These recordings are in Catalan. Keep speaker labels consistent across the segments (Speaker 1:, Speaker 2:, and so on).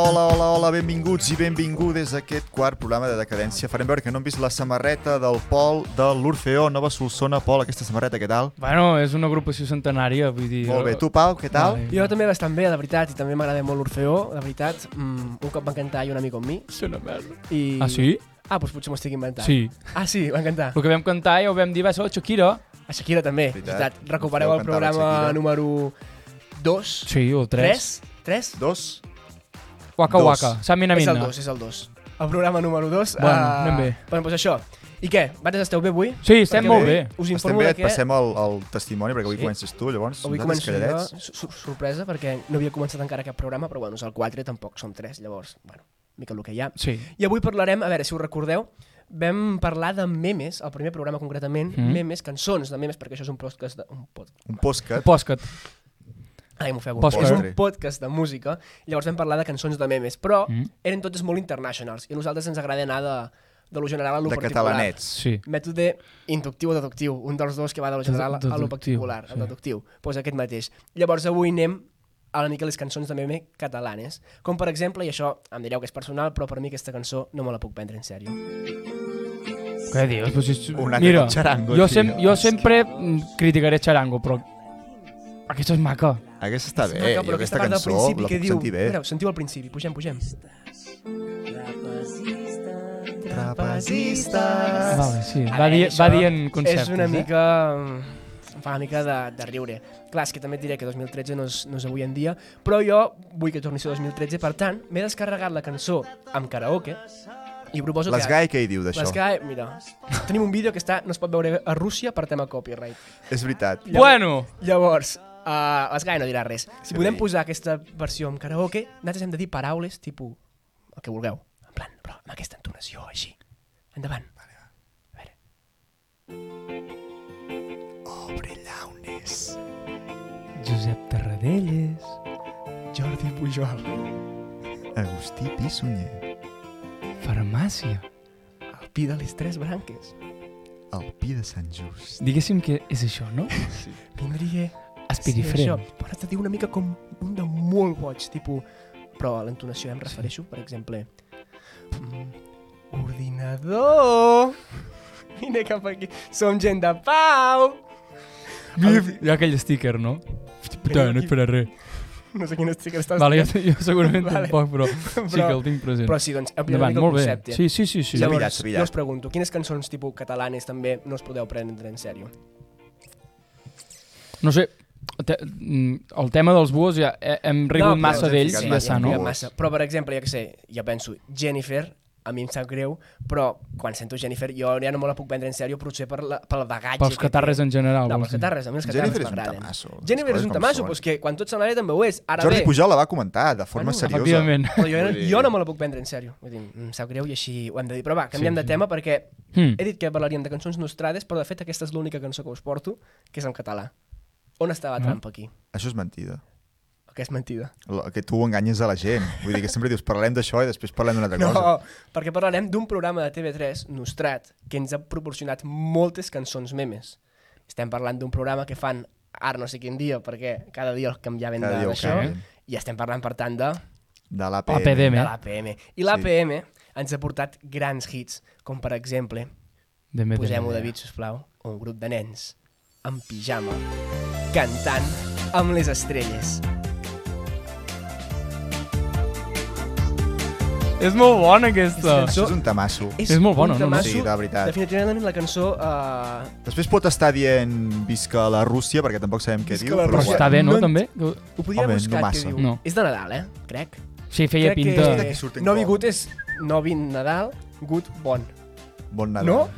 Speaker 1: Hola, benvinguts i benvingudes a aquest quart programa de Decadència. Farem veure que no hem vist la samarreta del Pol de l'Orfeó Nova Solsona. Pol, aquesta samarreta, què tal?
Speaker 2: Bueno, és una agrupació centenària, vull dir... eh,
Speaker 1: Molt bé. Tu, Pau, què tal?
Speaker 2: Vale.
Speaker 3: Jo també bastant bé, de veritat, i també m'agrada molt l'Orfeó, de veritat. Mm, un cop va cantar i un amic amb mi.
Speaker 2: Sí, una merda.
Speaker 3: I...
Speaker 2: Ah, sí?
Speaker 3: Ah, doncs potser m'ho estic inventant.
Speaker 2: Sí.
Speaker 3: Ah, sí, va cantar.
Speaker 2: El que vam cantar ja ho vam dir, va ser la Shakira.
Speaker 3: A Shakira també,
Speaker 1: Veritat.
Speaker 3: veritat. veritat. Recupereu
Speaker 1: Podeu
Speaker 3: el
Speaker 1: cantar la
Speaker 3: programa
Speaker 1: Shakira.
Speaker 3: número 2,
Speaker 2: Sí, o
Speaker 3: 3,
Speaker 2: tres.
Speaker 3: 3?
Speaker 1: Dos?
Speaker 2: Waka
Speaker 1: Dos.
Speaker 2: Waka, Samina
Speaker 3: És el
Speaker 2: Minna.
Speaker 3: 2, és el 2. El programa número 2.
Speaker 2: Bueno, anem bé.
Speaker 3: Bueno, doncs això. I què? Vates, esteu bé avui?
Speaker 2: Sí, estem
Speaker 1: Perquè
Speaker 2: molt
Speaker 1: bé.
Speaker 2: bé.
Speaker 3: Us
Speaker 1: Estem
Speaker 3: informo
Speaker 1: bé,
Speaker 3: de
Speaker 1: et
Speaker 3: que
Speaker 1: passem el, el testimoni, perquè avui
Speaker 3: Sí.
Speaker 1: sí. comences tu, llavors
Speaker 3: avui
Speaker 1: nosaltres
Speaker 3: començo jo,
Speaker 1: calladets.
Speaker 3: su- su- sorpresa, perquè no havia començat encara cap programa, però bueno, és el 4, tampoc som 3, llavors, bueno, mica el que hi ha.
Speaker 2: Sí.
Speaker 3: I avui parlarem, a veure si ho recordeu, vam parlar de memes, el primer programa concretament,
Speaker 2: Mhm.
Speaker 3: mm. memes, cançons de memes, perquè això és un podcast de... Un pod...
Speaker 1: Un postcat.
Speaker 2: Posca't.
Speaker 3: Ai, m'ofego.
Speaker 2: Podcast.
Speaker 3: És un podcast de música, llavors vam parlar de cançons de memes, però
Speaker 2: Mhm.
Speaker 3: mm. eren totes molt internationals, i a nosaltres ens agrada anar de, de lo general a lo
Speaker 1: de
Speaker 3: particular.
Speaker 1: catalanets.
Speaker 2: Sí.
Speaker 3: Mètode inductiu o deductiu, un dels dos que va de lo general a lo
Speaker 2: Deductiu,
Speaker 3: particular,
Speaker 2: sí.
Speaker 3: el deductiu, doncs aquest mateix. Llavors avui anem a una mica les cançons de meme catalanes, com per exemple, i això em direu que és personal, però per mi aquesta cançó no me la puc prendre en sèrio.
Speaker 2: Què dius? Pues és...
Speaker 1: Un altre
Speaker 2: Mira,
Speaker 1: cop Charango,
Speaker 2: jo,
Speaker 1: tio.
Speaker 2: sem jo sempre mm, criticaré Charango, però... Aquesta és maca.
Speaker 1: Aquesta està bé,
Speaker 3: Maca,
Speaker 1: jo
Speaker 3: però
Speaker 1: aquesta
Speaker 3: part del
Speaker 1: cançó
Speaker 3: principi
Speaker 1: la
Speaker 3: que
Speaker 1: puc sentir bé.
Speaker 3: Mireu, sentiu al principi, pugem, pugem.
Speaker 1: Trapezistes.
Speaker 2: Vale, sí.
Speaker 3: A
Speaker 2: Va,
Speaker 3: veure,
Speaker 2: di va
Speaker 3: això
Speaker 2: dient conceptes,
Speaker 3: És una
Speaker 2: eh?
Speaker 3: mica... Em fa una mica de, de riure. Clar, és que també et diré que 2013 no és, no és avui en dia, però jo vull que torni a ser 2013, per tant, m'he descarregat la cançó amb karaoke i proposo
Speaker 1: Les
Speaker 3: que...
Speaker 1: Gai què hi diu d'això?
Speaker 3: Les Gai, mira, tenim un vídeo que està, no es pot veure a Rússia per tema copyright.
Speaker 1: És veritat.
Speaker 2: Bueno,
Speaker 3: Llavors, uh, les Gai no dirà res. Si
Speaker 1: Sí.
Speaker 3: podem posar aquesta versió amb karaoke, nosaltres hem de dir paraules tipus el que vulgueu. En plan, però amb aquesta entonació, així. Endavant. Vale, A veure. Obre llaunes.
Speaker 2: Josep Tarradellas.
Speaker 3: Jordi Pujol.
Speaker 1: Agustí Pissunyer,
Speaker 2: Farmàcia.
Speaker 3: El pi de les tres branques.
Speaker 1: el Pi de Sant Just.
Speaker 2: Diguéssim que és això, no?
Speaker 3: Vindria...
Speaker 2: Espirifrent.
Speaker 3: Però has de dir una mica com un de molt boig, tipus... Però a l'entonació em refereixo, per exemple... Mm, ordinador! Vine cap aquí. Som gent de pau!
Speaker 2: Bif! Hi ha aquell sticker, no? Hosti Puta, no és per a res.
Speaker 3: No sé quin sticker estàs
Speaker 2: Vale,
Speaker 3: dient,
Speaker 2: jo, jo segurament
Speaker 3: Vale.
Speaker 2: tampoc, però sí que el tinc present.
Speaker 3: Però sí, doncs, ampliem una
Speaker 2: Endavant,
Speaker 3: mica el
Speaker 2: molt bé.
Speaker 3: concepte.
Speaker 2: Sí, sí, sí. sí.
Speaker 1: Ja
Speaker 3: Llavors,
Speaker 1: Sabillat, sabillat.
Speaker 3: jo us pregunto, quines cançons tipus catalanes també no us podeu prendre en sèrio?
Speaker 2: No sé, te, mm, el tema dels buos ja he- hem rigut
Speaker 3: però-
Speaker 2: massa d'ells
Speaker 1: sí,
Speaker 2: i ja està, no?
Speaker 1: ja.
Speaker 3: Massa. Però, per exemple, ja que sé, jo penso, Jennifer, a mi em sap greu, però quan sento Jennifer jo ja no me la puc prendre en sèrio, potser per la, pel bagatge.
Speaker 2: Pels
Speaker 3: que
Speaker 2: catarres
Speaker 3: té.
Speaker 2: en general.
Speaker 3: No,
Speaker 2: vols
Speaker 3: pels
Speaker 2: dir.
Speaker 3: catarres, a mi els catarres
Speaker 1: Jennifer és un
Speaker 3: m'agraden.
Speaker 1: tamasso, les
Speaker 3: Jennifer
Speaker 1: coses
Speaker 3: és un
Speaker 1: com
Speaker 3: tamasso,
Speaker 1: són.
Speaker 3: però és que quan tot se n'anava també ho és. Ara
Speaker 1: Jordi
Speaker 3: bé,
Speaker 1: Pujol la va comentar de forma
Speaker 3: Bueno,
Speaker 1: seriosa.
Speaker 2: Efectivament.
Speaker 3: però jo,
Speaker 1: Vull dir-
Speaker 3: jo no me la puc prendre en sèrio. Vull dir, em sap greu i així ho hem de dir. Però va, canviem
Speaker 2: Sí,
Speaker 3: sí, de
Speaker 2: sí.
Speaker 3: tema perquè
Speaker 2: Hmm.
Speaker 3: he dit que parlaríem de cançons nostrades, però de fet aquesta és l'única cançó que us porto, que és en català. On està la
Speaker 2: Ah.
Speaker 3: trampa aquí?
Speaker 1: Això és mentida.
Speaker 3: Que és mentida.
Speaker 1: Lo- Que tu enganyes a la gent. Vull dir que sempre dius parlem d'això i després parlem d'una altra
Speaker 3: No,
Speaker 1: cosa.
Speaker 3: perquè parlarem d'un programa de TV3, Nostrat, que ens ha proporcionat moltes cançons memes. Estem parlant d'un programa que fan ara no sé quin dia, perquè cada dia el canviaven
Speaker 1: Cada
Speaker 3: de-
Speaker 1: dia ho
Speaker 3: d'això,
Speaker 1: canvien.
Speaker 3: i estem parlant, per tant, de,
Speaker 1: De l'APM.
Speaker 2: APDM.
Speaker 3: de l'APM. I l'APM ens ha portat grans hits, com per exemple,
Speaker 2: Demeter.
Speaker 3: posem-ho, David, sisplau, un grup de nens en pijama, cantant amb les estrelles.
Speaker 2: És molt bona
Speaker 3: És
Speaker 2: aquesta.
Speaker 3: cançó-
Speaker 1: Això és un tamasso.
Speaker 2: És molt bona,
Speaker 3: un
Speaker 2: no?
Speaker 3: temasso.
Speaker 1: Sí, de veritat.
Speaker 3: Definitivament la cançó eh,
Speaker 1: Després pot estar dient visca la Rússia, perquè tampoc sabem què
Speaker 3: Visca
Speaker 1: diu.
Speaker 3: la
Speaker 2: Però
Speaker 3: Rússia.
Speaker 2: està bé, no,
Speaker 3: No en-
Speaker 2: també?
Speaker 3: Ho podria
Speaker 1: Home,
Speaker 3: haver buscat,
Speaker 1: no
Speaker 3: no
Speaker 1: massa.
Speaker 3: que diu.
Speaker 2: No.
Speaker 3: És de Nadal, eh? Crec.
Speaker 2: Sí, feia
Speaker 3: Crec
Speaker 2: pinta...
Speaker 1: Mira que
Speaker 3: que
Speaker 1: surten
Speaker 3: no
Speaker 1: com.
Speaker 3: vingut és no vint Nadal, good bon.
Speaker 1: Bon Nadal.
Speaker 3: No?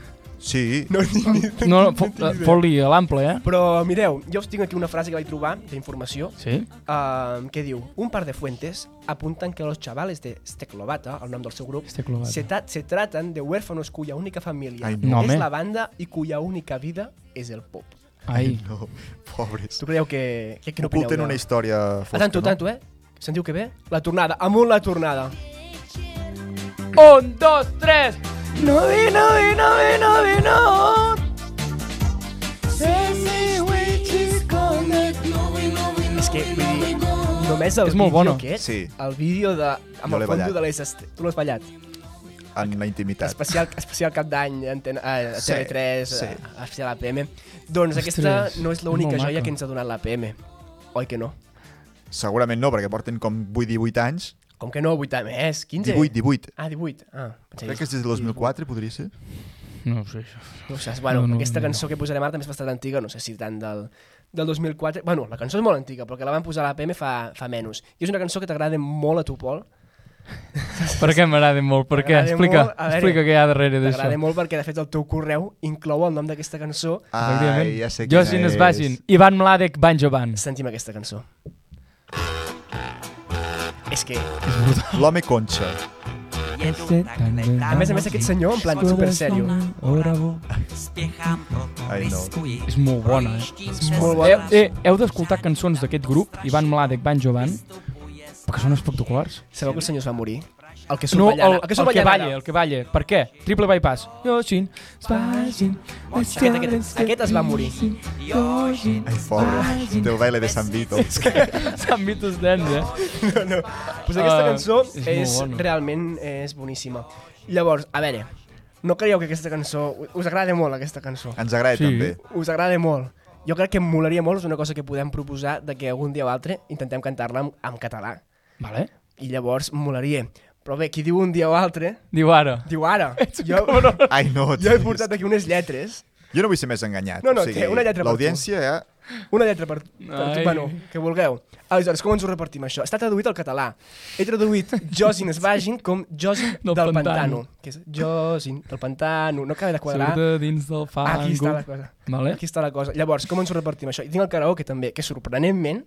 Speaker 1: Sí.
Speaker 3: No tinc ni...
Speaker 2: No, no, fo- eh, fot-li a l'ample, eh?
Speaker 3: Però mireu, jo us tinc aquí una frase que vaig trobar d'informació
Speaker 2: Sí.
Speaker 3: uh, que diu Un par de fuentes apuntan que los chavales de Steclovata, el nom del seu grup,
Speaker 2: Este clovat.
Speaker 3: se, ta- se tratan de huérfanos cuya única familia
Speaker 1: Ai,
Speaker 2: no, home.
Speaker 3: es la banda y cuya única vida es el pop.
Speaker 2: Ai.
Speaker 1: No, pobres.
Speaker 3: Tu creieu que... que, que no
Speaker 1: Oculten una història fosca,
Speaker 3: Tanto, tanto, eh? Sentiu que bé? La tornada, amunt la tornada.
Speaker 2: Un, dos, tres. No vi, no vi, no vi, no vi, no.
Speaker 3: eh? És que, vull dir, no només el
Speaker 2: És molt
Speaker 3: vídeo
Speaker 2: bona.
Speaker 3: aquest,
Speaker 1: Sí.
Speaker 3: el vídeo de,
Speaker 1: Jo
Speaker 3: amb
Speaker 1: l'he
Speaker 3: el fondo
Speaker 1: ballat.
Speaker 3: de les... est- Tu l'has ballat.
Speaker 1: en la intimitat.
Speaker 3: Especial, especial cap d'any a Antena- eh, a
Speaker 1: Sí,
Speaker 3: TV3,
Speaker 1: sí.
Speaker 3: sí. a, especial APM. Doncs aquesta
Speaker 2: Ostres,
Speaker 3: no és
Speaker 2: és
Speaker 3: l'única
Speaker 2: molt
Speaker 3: joia
Speaker 2: maca.
Speaker 3: que ens ha donat l'APM. Oi que no?
Speaker 1: Segurament no, perquè porten com 8, 18 anys.
Speaker 3: Com que no? 8 més? 15?
Speaker 1: 18, 18.
Speaker 3: Ah, 18. Ah, pensava
Speaker 1: Crec que és des de 2004, podria ser.
Speaker 2: No ho sé, això.
Speaker 3: No ho saps, bueno,
Speaker 2: No, no,
Speaker 3: no, aquesta
Speaker 2: no.
Speaker 3: cançó que posarem ara també és bastant antiga, no sé si tant del, del 2004... Bueno, la cançó és molt antiga, però que la van posar a l'APM fa, fa menys. I és una cançó que t'agrada molt a tu, Pol.
Speaker 2: Per què m'agrada molt? Per què?
Speaker 3: M'agrada
Speaker 2: Explica,
Speaker 3: molt. A veure,
Speaker 2: explica què hi ha darrere d'això.
Speaker 3: T'agrada molt perquè, de fet, el teu correu inclou el nom d'aquesta cançó.
Speaker 1: Ai, ja sé quina
Speaker 2: Josin
Speaker 1: és.
Speaker 2: Esbagin, Ivan Mladek, Banjo Band.
Speaker 3: Sentim aquesta cançó. És que,
Speaker 1: L'home conxa.
Speaker 3: a més a més, aquest senyor, en plan super sèrio.
Speaker 1: Ai, no.
Speaker 2: És molt bona, eh?
Speaker 4: És
Speaker 3: molt bona.
Speaker 2: Heu, eh, heu d'escoltar cançons d'aquest grup, Ivan Mladek, Banjo Band, perquè són espectaculars.
Speaker 3: Sabeu que el senyor es va morir? El que surt
Speaker 2: No, el,
Speaker 3: ballant.
Speaker 2: el,
Speaker 3: surt
Speaker 2: que
Speaker 3: ballant
Speaker 2: balla,
Speaker 3: ara.
Speaker 2: el que balla. Per què? Triple bypass. Josin Esbagin,
Speaker 3: Aquest, aquest, aquest es va morir.
Speaker 1: Ai, pobre. Teu baile de San Vito.
Speaker 2: S'han vist els nens, eh?
Speaker 3: Pues aquesta
Speaker 2: Ah,
Speaker 3: cançó
Speaker 2: és
Speaker 3: és,
Speaker 2: molt bona.
Speaker 3: realment és boníssima. Llavors, a veure, no creieu que aquesta cançó... Us agrada molt, aquesta cançó.
Speaker 1: Ens agrada
Speaker 2: Sí.
Speaker 1: també.
Speaker 3: Us agrada molt. Jo crec que em molaria molt, és una cosa que podem proposar de que algun dia o altre intentem cantar-la en, en català.
Speaker 2: Vale.
Speaker 3: I llavors em molaria. Però bé, qui diu un dia o altre,
Speaker 2: Diu ara.
Speaker 3: diu ara. Jo,
Speaker 1: Ai, no.
Speaker 3: jo he
Speaker 1: tio.
Speaker 3: portat aquí unes lletres.
Speaker 1: Jo no vull ser més enganyat.
Speaker 3: No, no, té una lletra per tu.
Speaker 1: L'audiència eh, ja...
Speaker 3: Una lletra per, per
Speaker 2: Ai.
Speaker 3: tu, bueno, que vulgueu. Aleshores, com ens ho repartim, això? Està traduït al català. He traduït Josin Svagin com Josin
Speaker 2: Del
Speaker 3: del, del
Speaker 2: pantano.
Speaker 3: pantano. Que és Josin del pantano. No acaba de quadrar.
Speaker 2: Surt de dins del fango.
Speaker 3: Ah, Aquí està la cosa.
Speaker 2: Vale.
Speaker 3: Aquí està la cosa. Llavors, com ens ho repartim, això? I tinc el karaoke, també, que sorprenentment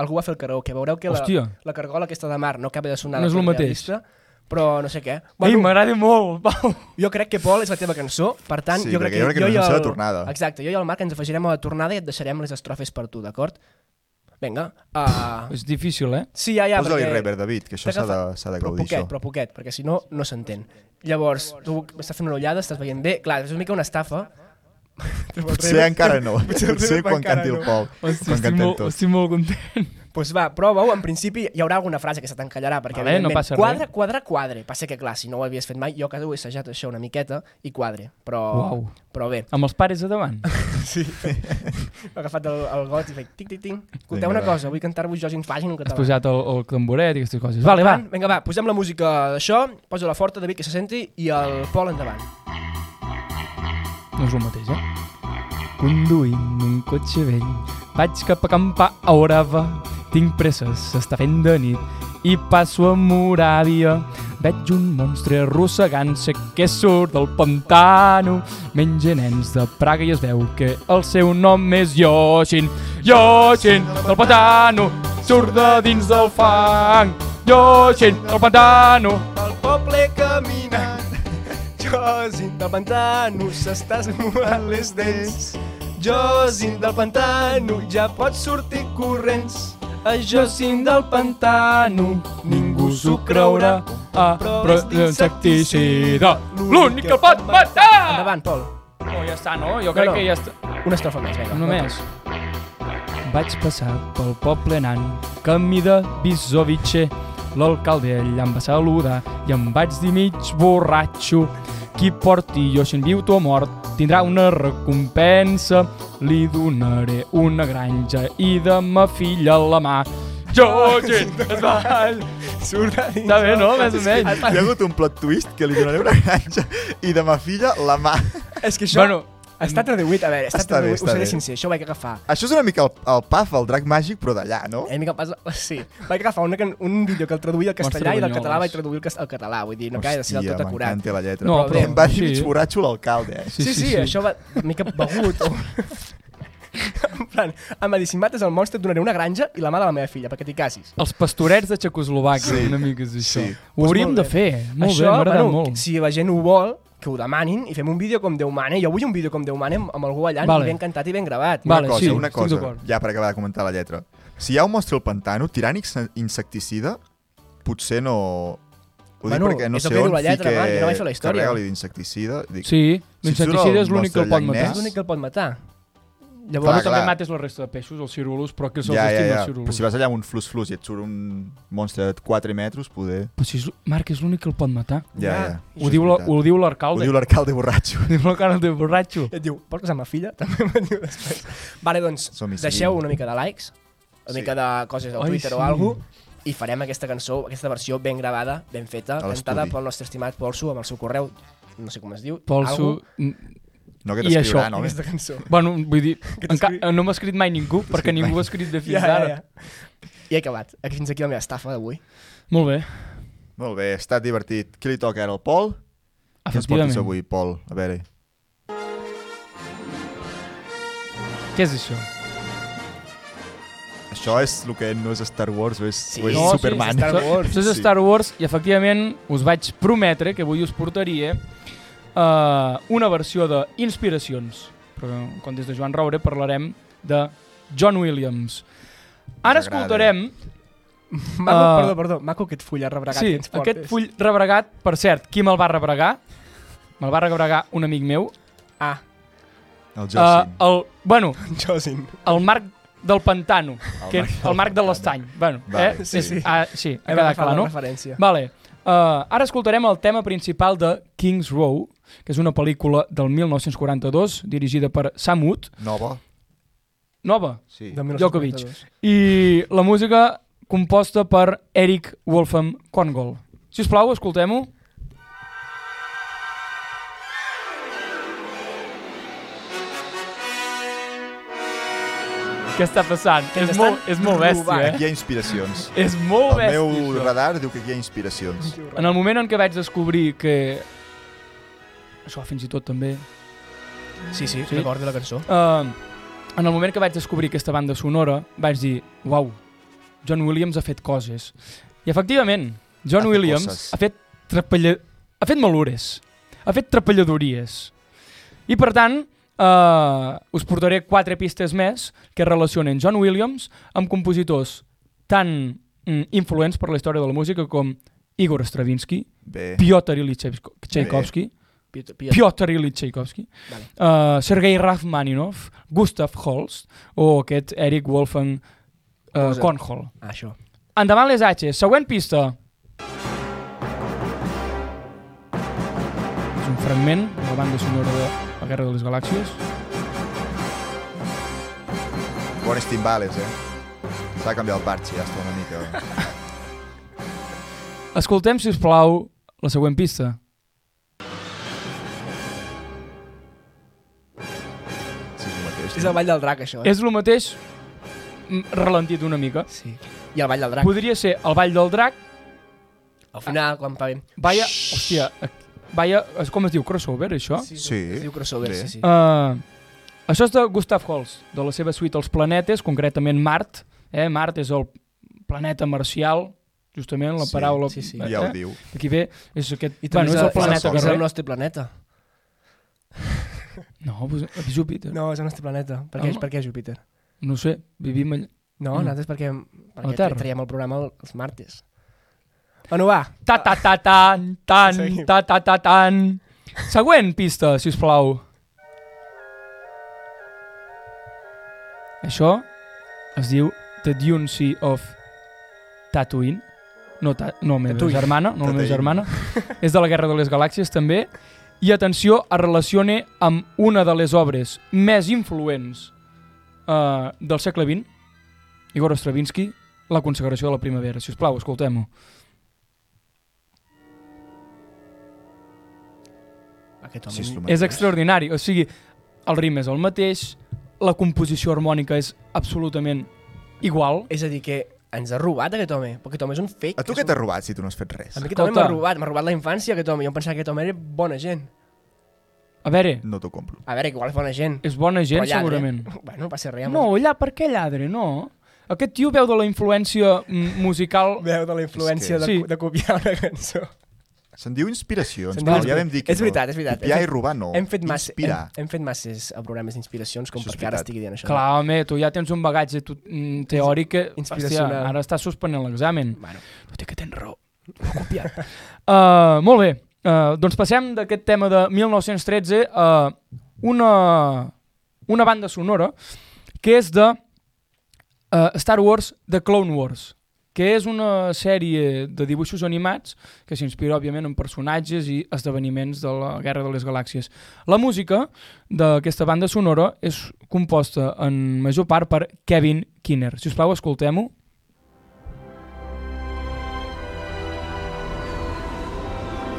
Speaker 3: algú va fer el karaoke. Veureu que la,
Speaker 2: Hòstia.
Speaker 3: la cargola aquesta de mar no acaba de sonar
Speaker 2: No és
Speaker 3: la
Speaker 2: el mateix.
Speaker 3: realista, però no sé què.
Speaker 2: Ei,
Speaker 3: Bueno,
Speaker 2: m'agrada molt, Pau.
Speaker 3: jo crec que Pol és la teva cançó, per tant,
Speaker 1: Sí,
Speaker 3: jo
Speaker 1: perquè
Speaker 3: crec
Speaker 1: jo crec que és la cançó
Speaker 3: i
Speaker 1: de tornada.
Speaker 3: Exacte, jo i el Marc ens afegirem a la tornada i et deixarem les estrofes per tu, d'acord? Vinga. Uh...
Speaker 2: És difícil, eh?
Speaker 3: Sí, ja, ja,
Speaker 1: Posa-li
Speaker 3: perquè-
Speaker 1: rever, David, que això s'ha de,
Speaker 3: T'agafa-
Speaker 1: s'ha de
Speaker 3: però
Speaker 1: gaudir,
Speaker 3: poquet,
Speaker 1: això.
Speaker 3: Però poquet, perquè si no, no s'entén. Llavors, tu estàs fent una ullada, estàs veient bé, clar, és una mica una estafa.
Speaker 1: Potser encara no.
Speaker 3: el
Speaker 1: Potser
Speaker 3: rever
Speaker 1: quan
Speaker 3: encara
Speaker 1: canti el
Speaker 3: no.
Speaker 1: Pol.
Speaker 2: Hosti,
Speaker 1: Quan
Speaker 2: estic,
Speaker 1: cantem
Speaker 2: molt,
Speaker 1: tots.
Speaker 2: estic molt content.
Speaker 3: Pues va, prova-ho, en principi hi haurà alguna frase que se t'encallarà, perquè
Speaker 2: Vale, no
Speaker 3: evidentment,
Speaker 2: passa res.
Speaker 3: quadre, quadre, quadre. Passa que clar, si no ho havies fet mai, jo cada ho he assajat això una miqueta i quadre, però,
Speaker 2: Uau.
Speaker 3: però bé.
Speaker 2: Amb els pares a davant.
Speaker 3: Sí. He agafat el, el got i faig tic-tic-tic. Escolteu
Speaker 1: Vinga,
Speaker 3: una
Speaker 1: va.
Speaker 3: cosa, vull cantar-vos jo sin fàgil en
Speaker 2: Has
Speaker 3: català.
Speaker 2: posat el, el tamboret i aquestes coses. Vale, va.
Speaker 3: Vinga, va, posem la música d'això, posa-la forta, David, que se senti, i el Pol endavant.
Speaker 2: No és el mateix, eh? Conduint un cotxe vell, vaig cap a campar a Orava. Tinc presses, s'està fent de nit i passo a Moràvia. Veig un monstre arrossegant-se que surt del pantano. Menja nens de Praga i es veu que el seu nom és Yoshin. Yoshin, del pantano, surt de dins del fang. Yoshin, del pantano,
Speaker 3: El poble camina Josin del pantano s'està esmuant les dents Josin del pantano ja pot sortir corrents
Speaker 2: A Jacint del pantano ningú s'ho creurà ah, però és insecticida l'únic que el pot matar
Speaker 3: Endavant, Pol.
Speaker 2: no, ja està, no? jo
Speaker 3: crec
Speaker 2: crec
Speaker 3: que
Speaker 2: que
Speaker 3: ja
Speaker 2: ja està
Speaker 3: Una estrofa més, vinga.
Speaker 2: només vaig passar pel poble nan camí de Bisovice l'alcalde allà em va saludar i em vaig dir mig borratxo qui porti Yoshin viu o mort tindrà una recompensa li donaré una granja i de ma filla a la mà Yoshin es va
Speaker 3: Surt a dins.
Speaker 2: Està bé, no? Més o menys.
Speaker 1: Hi ha hagut un plot twist que li donaré una granja i de ma filla la mà.
Speaker 3: És que això...
Speaker 2: Bueno,
Speaker 3: Està traduït, a veure, està,
Speaker 1: Està bé,
Speaker 3: traduït,
Speaker 1: està
Speaker 3: us seré
Speaker 1: bé.
Speaker 3: sincer, això ho vaig agafar.
Speaker 1: Això és una mica el, el paf, el drac màgic, però d'allà, no?
Speaker 3: Una mica passa... Sí, vaig agafar una, can- un vídeo que el traduïa al castellà i del
Speaker 2: Banyoles.
Speaker 3: català vaig traduir el cas- al català, vull dir, no acaba de ser del tot acurat.
Speaker 1: m'encanta la lletra.
Speaker 2: No,
Speaker 1: No, però
Speaker 2: però-
Speaker 1: em va dir
Speaker 2: sí.
Speaker 1: mig borratxo l'alcalde, eh?
Speaker 3: Sí, sí, sí, això va una mica begut. O... en plan, em va dir, si mates el monstre et donaré una granja i la mà de la meva filla, perquè t'hi casis.
Speaker 2: Els pastorets de Txecoslovàquia,
Speaker 1: Sí,
Speaker 2: una mica és això.
Speaker 1: sí.
Speaker 2: Ho hauríem de
Speaker 3: molt bé.
Speaker 2: fer. eh? Molt bé, m'ha agradat molt.
Speaker 3: si la gent ho vol, que ho demanin i fem un vídeo com Déu mana. Jo vull un vídeo com Déu mana amb, amb algú ballant
Speaker 2: Vale.
Speaker 3: i ben cantat i ben gravat.
Speaker 1: Una
Speaker 2: Vale,
Speaker 1: cosa,
Speaker 2: sí,
Speaker 1: una
Speaker 2: estic
Speaker 1: cosa,
Speaker 2: d'acord.
Speaker 1: ja per acabar de comentar la lletra. Si hi ha un monstre al pantano, tirànic se- insecticida, potser no... Ho dic
Speaker 3: Bueno,
Speaker 1: perquè no
Speaker 3: és el
Speaker 1: sé
Speaker 3: que diu
Speaker 1: on
Speaker 3: la lletra,
Speaker 1: fique...
Speaker 3: Marc, jo no vaig fer la història.
Speaker 1: Carrega-li d'insecticida. Dic,
Speaker 2: Sí, l'insecticida és l'únic que el pot
Speaker 3: És
Speaker 1: Yes.
Speaker 2: matar.
Speaker 3: l'únic que el pot matar.
Speaker 2: Llavors
Speaker 1: Clar,
Speaker 2: clar, també
Speaker 1: clar.
Speaker 2: mates la resta de peixos, els cirulus, però que se'ls
Speaker 1: Ja, ja,
Speaker 2: estima
Speaker 1: ja.
Speaker 2: els
Speaker 1: Però
Speaker 2: cirulus.
Speaker 1: si vas allà amb un flus-flus i et surt un monstre de 4 metres, poder...
Speaker 2: Però si és, Marc és l'únic que el pot matar.
Speaker 1: Ja, ja.
Speaker 3: Ja.
Speaker 1: Això
Speaker 2: Ho
Speaker 1: és
Speaker 2: diu, la,
Speaker 1: veritat.
Speaker 2: ho diu
Speaker 1: Ho
Speaker 2: l'arcalde.
Speaker 1: diu l'arcalde borratxo.
Speaker 2: Ho diu l'arcalde de borratxo.
Speaker 3: I et diu, vols casar amb ma filla? També me'n diu després. Vale, doncs,
Speaker 1: Som-hi,
Speaker 3: deixeu
Speaker 1: seguim.
Speaker 3: una mica de likes, una
Speaker 1: Sí.
Speaker 3: mica de coses del
Speaker 2: Ai,
Speaker 3: Twitter
Speaker 2: sí.
Speaker 3: o alguna i farem aquesta cançó, aquesta versió ben gravada, ben feta,
Speaker 1: A l'estudi.
Speaker 3: cantada pel nostre estimat Polso amb el seu correu, no sé com es diu,
Speaker 2: Polso...
Speaker 3: algo,
Speaker 1: No que
Speaker 2: I
Speaker 1: t'escriurà,
Speaker 2: això,
Speaker 1: no? eh?
Speaker 3: aquesta cançó.
Speaker 2: Bueno, vull dir, enca...
Speaker 3: t'escri-
Speaker 2: no m'ha escrit mai ningú, perquè ningú ha escrit de fins ara.
Speaker 3: I he acabat. Aquí- Fins aquí la meva estafa d'avui.
Speaker 2: Molt bé,
Speaker 1: Molt bé, ha estat divertit. Qui li toca ara, el Pol? Què ens portes
Speaker 2: efectivament.
Speaker 1: avui, Pol? A veure,
Speaker 2: Què és això?
Speaker 1: això és el que no és Star Wars, o és,
Speaker 3: Sí.
Speaker 1: o és
Speaker 3: No, sí,
Speaker 1: Superman.
Speaker 3: és Star
Speaker 2: Això-
Speaker 3: Wars.
Speaker 2: Això és
Speaker 1: Sí.
Speaker 2: Star Wars i efectivament us vaig prometre que avui us portaria uh, una versió de Inspiracions. Però quan des de Joan Roure parlarem de John Williams. Ara
Speaker 1: Ens agrada.
Speaker 2: escoltarem
Speaker 3: Maco,
Speaker 2: Ah.
Speaker 3: perdó, perdó, maco aquest full rebregat
Speaker 2: sí,
Speaker 3: que ens portes.
Speaker 2: aquest full rebregat, per cert, qui me'l va rebregar? Me'l va rebregar un amic meu.
Speaker 3: Ah,
Speaker 1: El
Speaker 2: eh,
Speaker 1: Jossin.
Speaker 2: el, bueno,
Speaker 3: Josin.
Speaker 2: el Marc del Pantano,
Speaker 1: El
Speaker 2: que
Speaker 1: Marc
Speaker 2: és
Speaker 1: del
Speaker 2: el Marc de
Speaker 1: Pantano.
Speaker 2: l'Estany. Bueno,
Speaker 1: Vale,
Speaker 2: eh?
Speaker 1: sí.
Speaker 2: és- Ah, sí, ha quedat clar, no?
Speaker 3: Referència.
Speaker 2: Vale. Uh, ara escoltarem el tema principal de Kings Row, que és una pel·lícula del 1942, dirigida per Sam Wood,
Speaker 1: Nova?
Speaker 2: nova,
Speaker 1: Sí.
Speaker 3: De 1942.
Speaker 2: Djokovic. i la música composta per Eric Wolfram Korngold. Si us plau, escoltem-ho. Què està passant?
Speaker 3: Que ens
Speaker 2: és, molt,
Speaker 3: estan
Speaker 2: és molt bèstia,
Speaker 3: robant.
Speaker 1: Aquí
Speaker 2: eh?
Speaker 1: hi ha inspiracions.
Speaker 2: És molt
Speaker 1: El
Speaker 2: bèstia,
Speaker 1: meu
Speaker 2: això.
Speaker 1: radar diu que aquí hi ha inspiracions.
Speaker 2: En el moment en què vaig descobrir que... Això fins i tot també...
Speaker 3: Sí, sí,
Speaker 2: Sí.
Speaker 3: sí. recordo la cançó.
Speaker 2: Uh, en el moment que vaig descobrir aquesta banda sonora, vaig dir, uau, John Williams ha fet coses. I efectivament,
Speaker 1: Ha
Speaker 2: John
Speaker 1: fet
Speaker 2: Williams
Speaker 1: coses.
Speaker 2: ha fet trapella... ha fet malures, ha fet trapelladories. I per tant, uh, us portaré quatre pistes més que relacionen John Williams amb compositors tan mm, influents per la història de la música com Igor Stravinsky,
Speaker 1: Bé,
Speaker 2: Piotr Ilyich Tchaiko- Tchaikovsky,
Speaker 3: Piot,
Speaker 2: Piotr Ilyich Tchaikovsky,
Speaker 3: Vale.
Speaker 2: uh, Sergei Rachmaninov, Gustav Holst o aquest Eric Wolfgang uh,
Speaker 3: Cosa.
Speaker 2: Kornhol.
Speaker 3: Ah, això.
Speaker 2: Endavant les H, següent pista. És un fragment de la banda sonora de la Guerra de les Galàxies.
Speaker 1: bones timbales, eh? S'ha canviat el parche, ja està una mica...
Speaker 2: Escoltem, si us plau, la següent pista.
Speaker 1: Sí, és el mateix.
Speaker 3: És el Vall del Drac, això, eh?
Speaker 2: És el mateix, mm, ralentit una mica.
Speaker 3: Sí. I el Vall del Drac.
Speaker 2: Podria ser el Vall del Drac,
Speaker 3: Al final, quan paguem...
Speaker 1: Eh?
Speaker 2: Vaya, hòstia, ac- vaya, es- com es diu, crossover, això?
Speaker 1: Sí. sí.
Speaker 3: Es diu crossover,
Speaker 1: Bé.
Speaker 3: sí, sí.
Speaker 2: Uh, això és de Gustav Holst, de la seva suite Els planetes, concretament Mart. Eh? Mart és el planeta marcial, justament la
Speaker 1: Sí,
Speaker 2: paraula...
Speaker 3: sí, sí.
Speaker 1: Ja ho
Speaker 2: eh?
Speaker 1: diu.
Speaker 2: Aquí ve, és aquest...
Speaker 3: I
Speaker 2: bueno,
Speaker 3: també
Speaker 2: és, el eh? planeta
Speaker 1: Sol,
Speaker 2: que
Speaker 3: és el
Speaker 2: rep.
Speaker 3: nostre planeta.
Speaker 2: No, pues, és Júpiter. No.
Speaker 3: No, és el nostre planeta. Per què,
Speaker 2: Ah, Home.
Speaker 3: per què és Júpiter?
Speaker 2: no sé, vivim allà...
Speaker 3: No,
Speaker 2: Mm.
Speaker 3: nosaltres perquè, perquè
Speaker 2: Terra.
Speaker 3: tra- traiem el programa el- els martes. Bueno, va.
Speaker 2: Ta ta ta tan, tan,
Speaker 3: Seguim.
Speaker 2: ta ta ta tan. Següent pista, si us plau. Això es diu The Dune Sea of Tatooine. No, ta, no la meva
Speaker 3: Tatooine.
Speaker 2: germana, no la meva
Speaker 1: Tatooine.
Speaker 2: germana. És de la Guerra de les Galàxies, també. I atenció, es relaciona amb una de les obres més influents eh, del segle XX, Igor Stravinsky, La consagració de la primavera. Si us plau, escoltem-ho.
Speaker 3: Aquest
Speaker 1: Sí, és el
Speaker 3: home...
Speaker 1: mateix.
Speaker 2: És extraordinari, o sigui, el ritme és el mateix, la composició harmònica és absolutament igual.
Speaker 3: És a dir, que ens ha robat aquest home. Perquè aquest home és un fake.
Speaker 1: A tu què t'has robat si tu no has fet res?
Speaker 3: A mi aquest home m'ha
Speaker 2: Escolta.
Speaker 3: robat, m'ha robat la infància aquest home. Jo em pensava que aquest home era bona gent.
Speaker 2: A veure,
Speaker 1: No t'ho compro.
Speaker 3: A veure, que igual és bona gent.
Speaker 2: és bona gent
Speaker 3: però lladre.
Speaker 2: segurament.
Speaker 3: Bueno, va ser res.
Speaker 2: No, allà, per què lladre, no? Aquest tio veu de la influència mm, musical...
Speaker 3: Veu de la influència
Speaker 2: És
Speaker 3: de,
Speaker 2: que-
Speaker 3: sí. de copiar una cançó.
Speaker 1: Se'n diu inspiracions,
Speaker 3: Se'n
Speaker 1: però
Speaker 3: diu
Speaker 1: ja
Speaker 3: inspi-
Speaker 1: vam dir que
Speaker 3: És veritat, és veritat.
Speaker 1: No. Copiar
Speaker 3: Hem-
Speaker 1: i robar no.
Speaker 3: Hem fet, massa, hem,
Speaker 1: Inspirar.
Speaker 3: hem fet masses a programes d'inspiracions com
Speaker 1: Això és
Speaker 3: perquè ara
Speaker 1: veritat.
Speaker 3: estigui dient això.
Speaker 2: Clar, home, tu ja tens un bagatge tu, mm, teòric que... Hòstia,
Speaker 3: Inspiracional.
Speaker 2: ara estàs suspenent l'examen.
Speaker 3: Bueno,
Speaker 2: Tot i que tens raó. Ho copiat. uh, molt bé. Uh, doncs passem d'aquest tema de 1913 a una, una banda sonora que és de eh, Star Wars The Clone Wars, que és una sèrie de dibuixos animats que s'inspira, òbviament, en personatges i esdeveniments de la Guerra de les Galàxies. La música d'aquesta banda sonora és composta en major part per Kevin Kinner. Si us plau, escoltem-ho.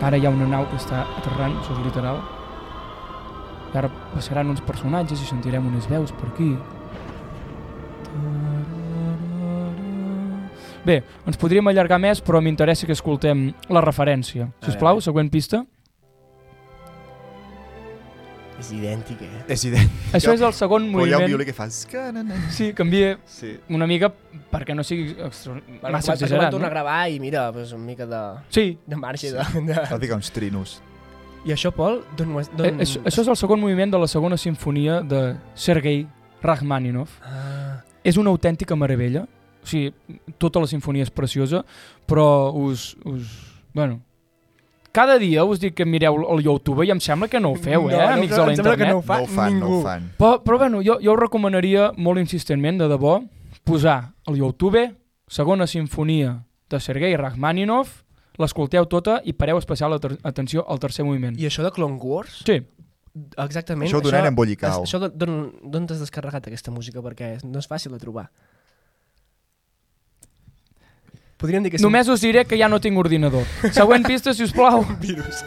Speaker 2: Ara hi ha una nau que està aterrant, això és literal. I ara passaran uns personatges i sentirem unes veus per aquí. Bé, ens podríem allargar més, però m'interessa que escoltem la referència.
Speaker 3: A
Speaker 2: Si us plau,
Speaker 3: veure.
Speaker 2: següent pista.
Speaker 3: És idèntic, eh?
Speaker 1: És ident.
Speaker 2: Això és el segon
Speaker 1: Però hi ha un
Speaker 2: moviment.
Speaker 1: violí que fas...
Speaker 2: Sí, canvia
Speaker 1: Sí.
Speaker 2: una mica perquè no sigui extra...
Speaker 3: Bueno,
Speaker 2: massa
Speaker 3: que van
Speaker 2: exagerat.
Speaker 3: tornar a
Speaker 2: No?
Speaker 3: gravar i mira, pues, una mica de,
Speaker 2: Sí,
Speaker 3: de marxa.
Speaker 1: Sí.
Speaker 3: De, de...
Speaker 1: Va ficar uns trinos.
Speaker 3: I això, Pol, d'on ho has...
Speaker 2: eh,
Speaker 3: D'on...
Speaker 2: això, això és el segon moviment de la segona sinfonia de Sergei Rachmaninov.
Speaker 3: Ah,
Speaker 2: És una autèntica meravella. O sigui, tota la sinfonia és preciosa, però us... us bueno, cada dia us dic que mireu el YouTube i em sembla que no ho feu, eh, amics de la
Speaker 3: em sembla
Speaker 2: internet.
Speaker 3: Que no ho fa
Speaker 1: no ho fan,
Speaker 3: ningú.
Speaker 1: no ho fan.
Speaker 2: Però, però bueno, jo, jo ho recomanaria molt insistentment, de debò, posar al YouTube segona sinfonia de Sergei Rachmaninov, l'escolteu tota i pareu especial ater- atenció al tercer moviment.
Speaker 3: I això de Clone Wars?
Speaker 2: Sí,
Speaker 3: Exactament.
Speaker 1: Això ho donaran en Bollicau.
Speaker 3: es- Això d'on- d'on d'on t'has descarregat aquesta música? Perquè no és fàcil de trobar. Podríem dir que...
Speaker 2: només us diré que ja no tinc ordinador. Següent pista, si us plau.
Speaker 3: virus.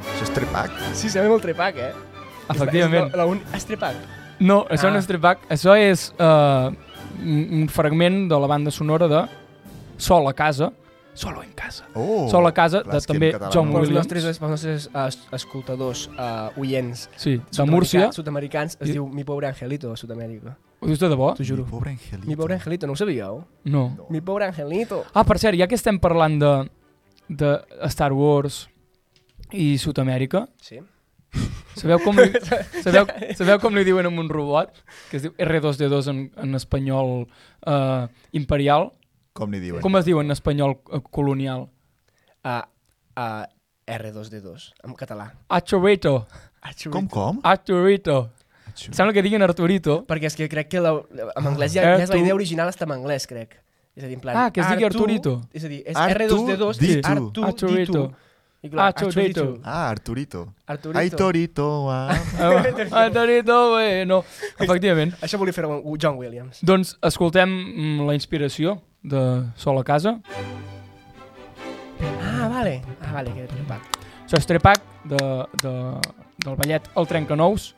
Speaker 1: Això és trepac.
Speaker 3: Sí, sembla molt trepac, eh?
Speaker 2: Efectivament.
Speaker 3: És la, és la, la un... Has trepac?
Speaker 2: No, això
Speaker 3: Ah.
Speaker 2: no és Trepac, això és uh, un fragment de la banda sonora de Sol a casa, Solo en casa.
Speaker 1: Oh.
Speaker 2: Sol a casa, de
Speaker 1: clar, és que en
Speaker 2: també
Speaker 1: català
Speaker 2: John
Speaker 1: no.
Speaker 3: Pels
Speaker 2: Williams.
Speaker 3: nostres, pels nostres uh, escoltadors, uh, oients,
Speaker 2: Sí, de
Speaker 3: sud-americans-
Speaker 2: Múrcia.
Speaker 3: sud-americans, es
Speaker 2: I-
Speaker 3: diu Mi pobre angelito a Sud-amèrica.
Speaker 2: Ho dius de debò?
Speaker 3: T'ho juro.
Speaker 1: Mi pobre angelito.
Speaker 3: Mi pobre angelito, no ho sabíeu?
Speaker 2: No.
Speaker 1: No.
Speaker 3: Mi pobre angelito.
Speaker 2: Ah, per cert, ja que estem parlant de, de Star Wars i Sud-amèrica,
Speaker 3: Sí.
Speaker 2: sabeu com, li, sabeu, sabeu com li diuen a un robot? Que es diu R2-D2 en, en espanyol eh, imperial.
Speaker 1: Com li diuen?
Speaker 2: Com es diu en espanyol eh, colonial?
Speaker 3: A, a R2D2, en català.
Speaker 2: Arturito.
Speaker 1: Com, com?
Speaker 2: Arturito.
Speaker 1: Atxu.
Speaker 2: Sembla que diguin Arturito.
Speaker 3: Perquè és que crec que la, en anglès ja, ja és la
Speaker 2: Artu-
Speaker 3: idea original està en anglès, crec. És a dir, en plan...
Speaker 2: Eh, Ah, que es digui
Speaker 3: Artu-
Speaker 2: Arturito.
Speaker 3: És a dir, és
Speaker 1: Artu
Speaker 3: R2D2,
Speaker 1: D2.
Speaker 3: és Artu,
Speaker 2: Arturito.
Speaker 3: D2. I clar,
Speaker 2: Arturito.
Speaker 3: Arturito.
Speaker 1: Ah, Arturito.
Speaker 3: Arturito.
Speaker 1: Ai, Torito. Ah.
Speaker 2: Ah, Arturito, bueno. Efectivament.
Speaker 3: Això volia fer un- John Williams.
Speaker 2: Doncs escoltem mm, la inspiració de Sol a casa.
Speaker 3: Ah, vale. Ah, vale, que trepat.
Speaker 2: Sostre Pac de, de, del ballet El Trencanous,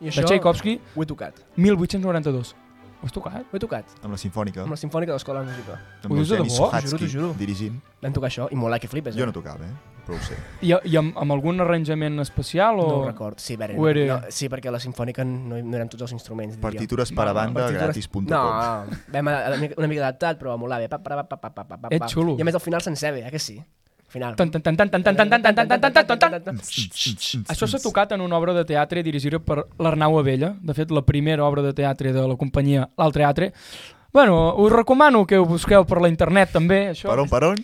Speaker 3: I
Speaker 2: de Tchaikovsky,
Speaker 3: ho he tocat.
Speaker 2: 1892. Ho has tocat?
Speaker 3: Ho he tocat.
Speaker 1: Amb la sinfònica.
Speaker 3: Amb la Sinfònica de l'Escola de Música.
Speaker 1: Amb
Speaker 2: Ho
Speaker 1: el
Speaker 2: dius de
Speaker 1: Denis
Speaker 2: debò?
Speaker 3: T'ho juro,
Speaker 1: Sohatsky
Speaker 3: t'ho juro.
Speaker 1: dirigint.
Speaker 3: Vam tocar això i mola que flipes.
Speaker 1: Jo no tocava, eh? Però ho sé.
Speaker 2: I, i amb, amb algun arranjament especial? O...
Speaker 3: No ho record. Sí, a veure,
Speaker 2: Ho era-
Speaker 3: no, sí, perquè a la Sinfònica no, hi- no eren tots els instruments. diria.
Speaker 1: Partitures per a banda,
Speaker 3: Partitures-
Speaker 1: gratis.com.
Speaker 3: No, vam a- a- una mica adaptat, però molt bé. Pa, pa, pa, pa, pa, pa, pa,
Speaker 2: És
Speaker 3: pa.
Speaker 2: xulo.
Speaker 3: I a més, al final sencer bé, eh, que sí? Al final.
Speaker 2: Tan, tan, tan, tan, tan, tan, tan, tan, tan, tan, tan, tan, tan, tan, tan. Això
Speaker 1: Això
Speaker 2: s'ha tocat en una obra de teatre dirigida per l'Arnau Abella, de fet la primera obra de teatre de la companyia L'Alt Teatre. Bueno, us recomano que ho busqueu per la internet també, això.
Speaker 1: Per on, per on?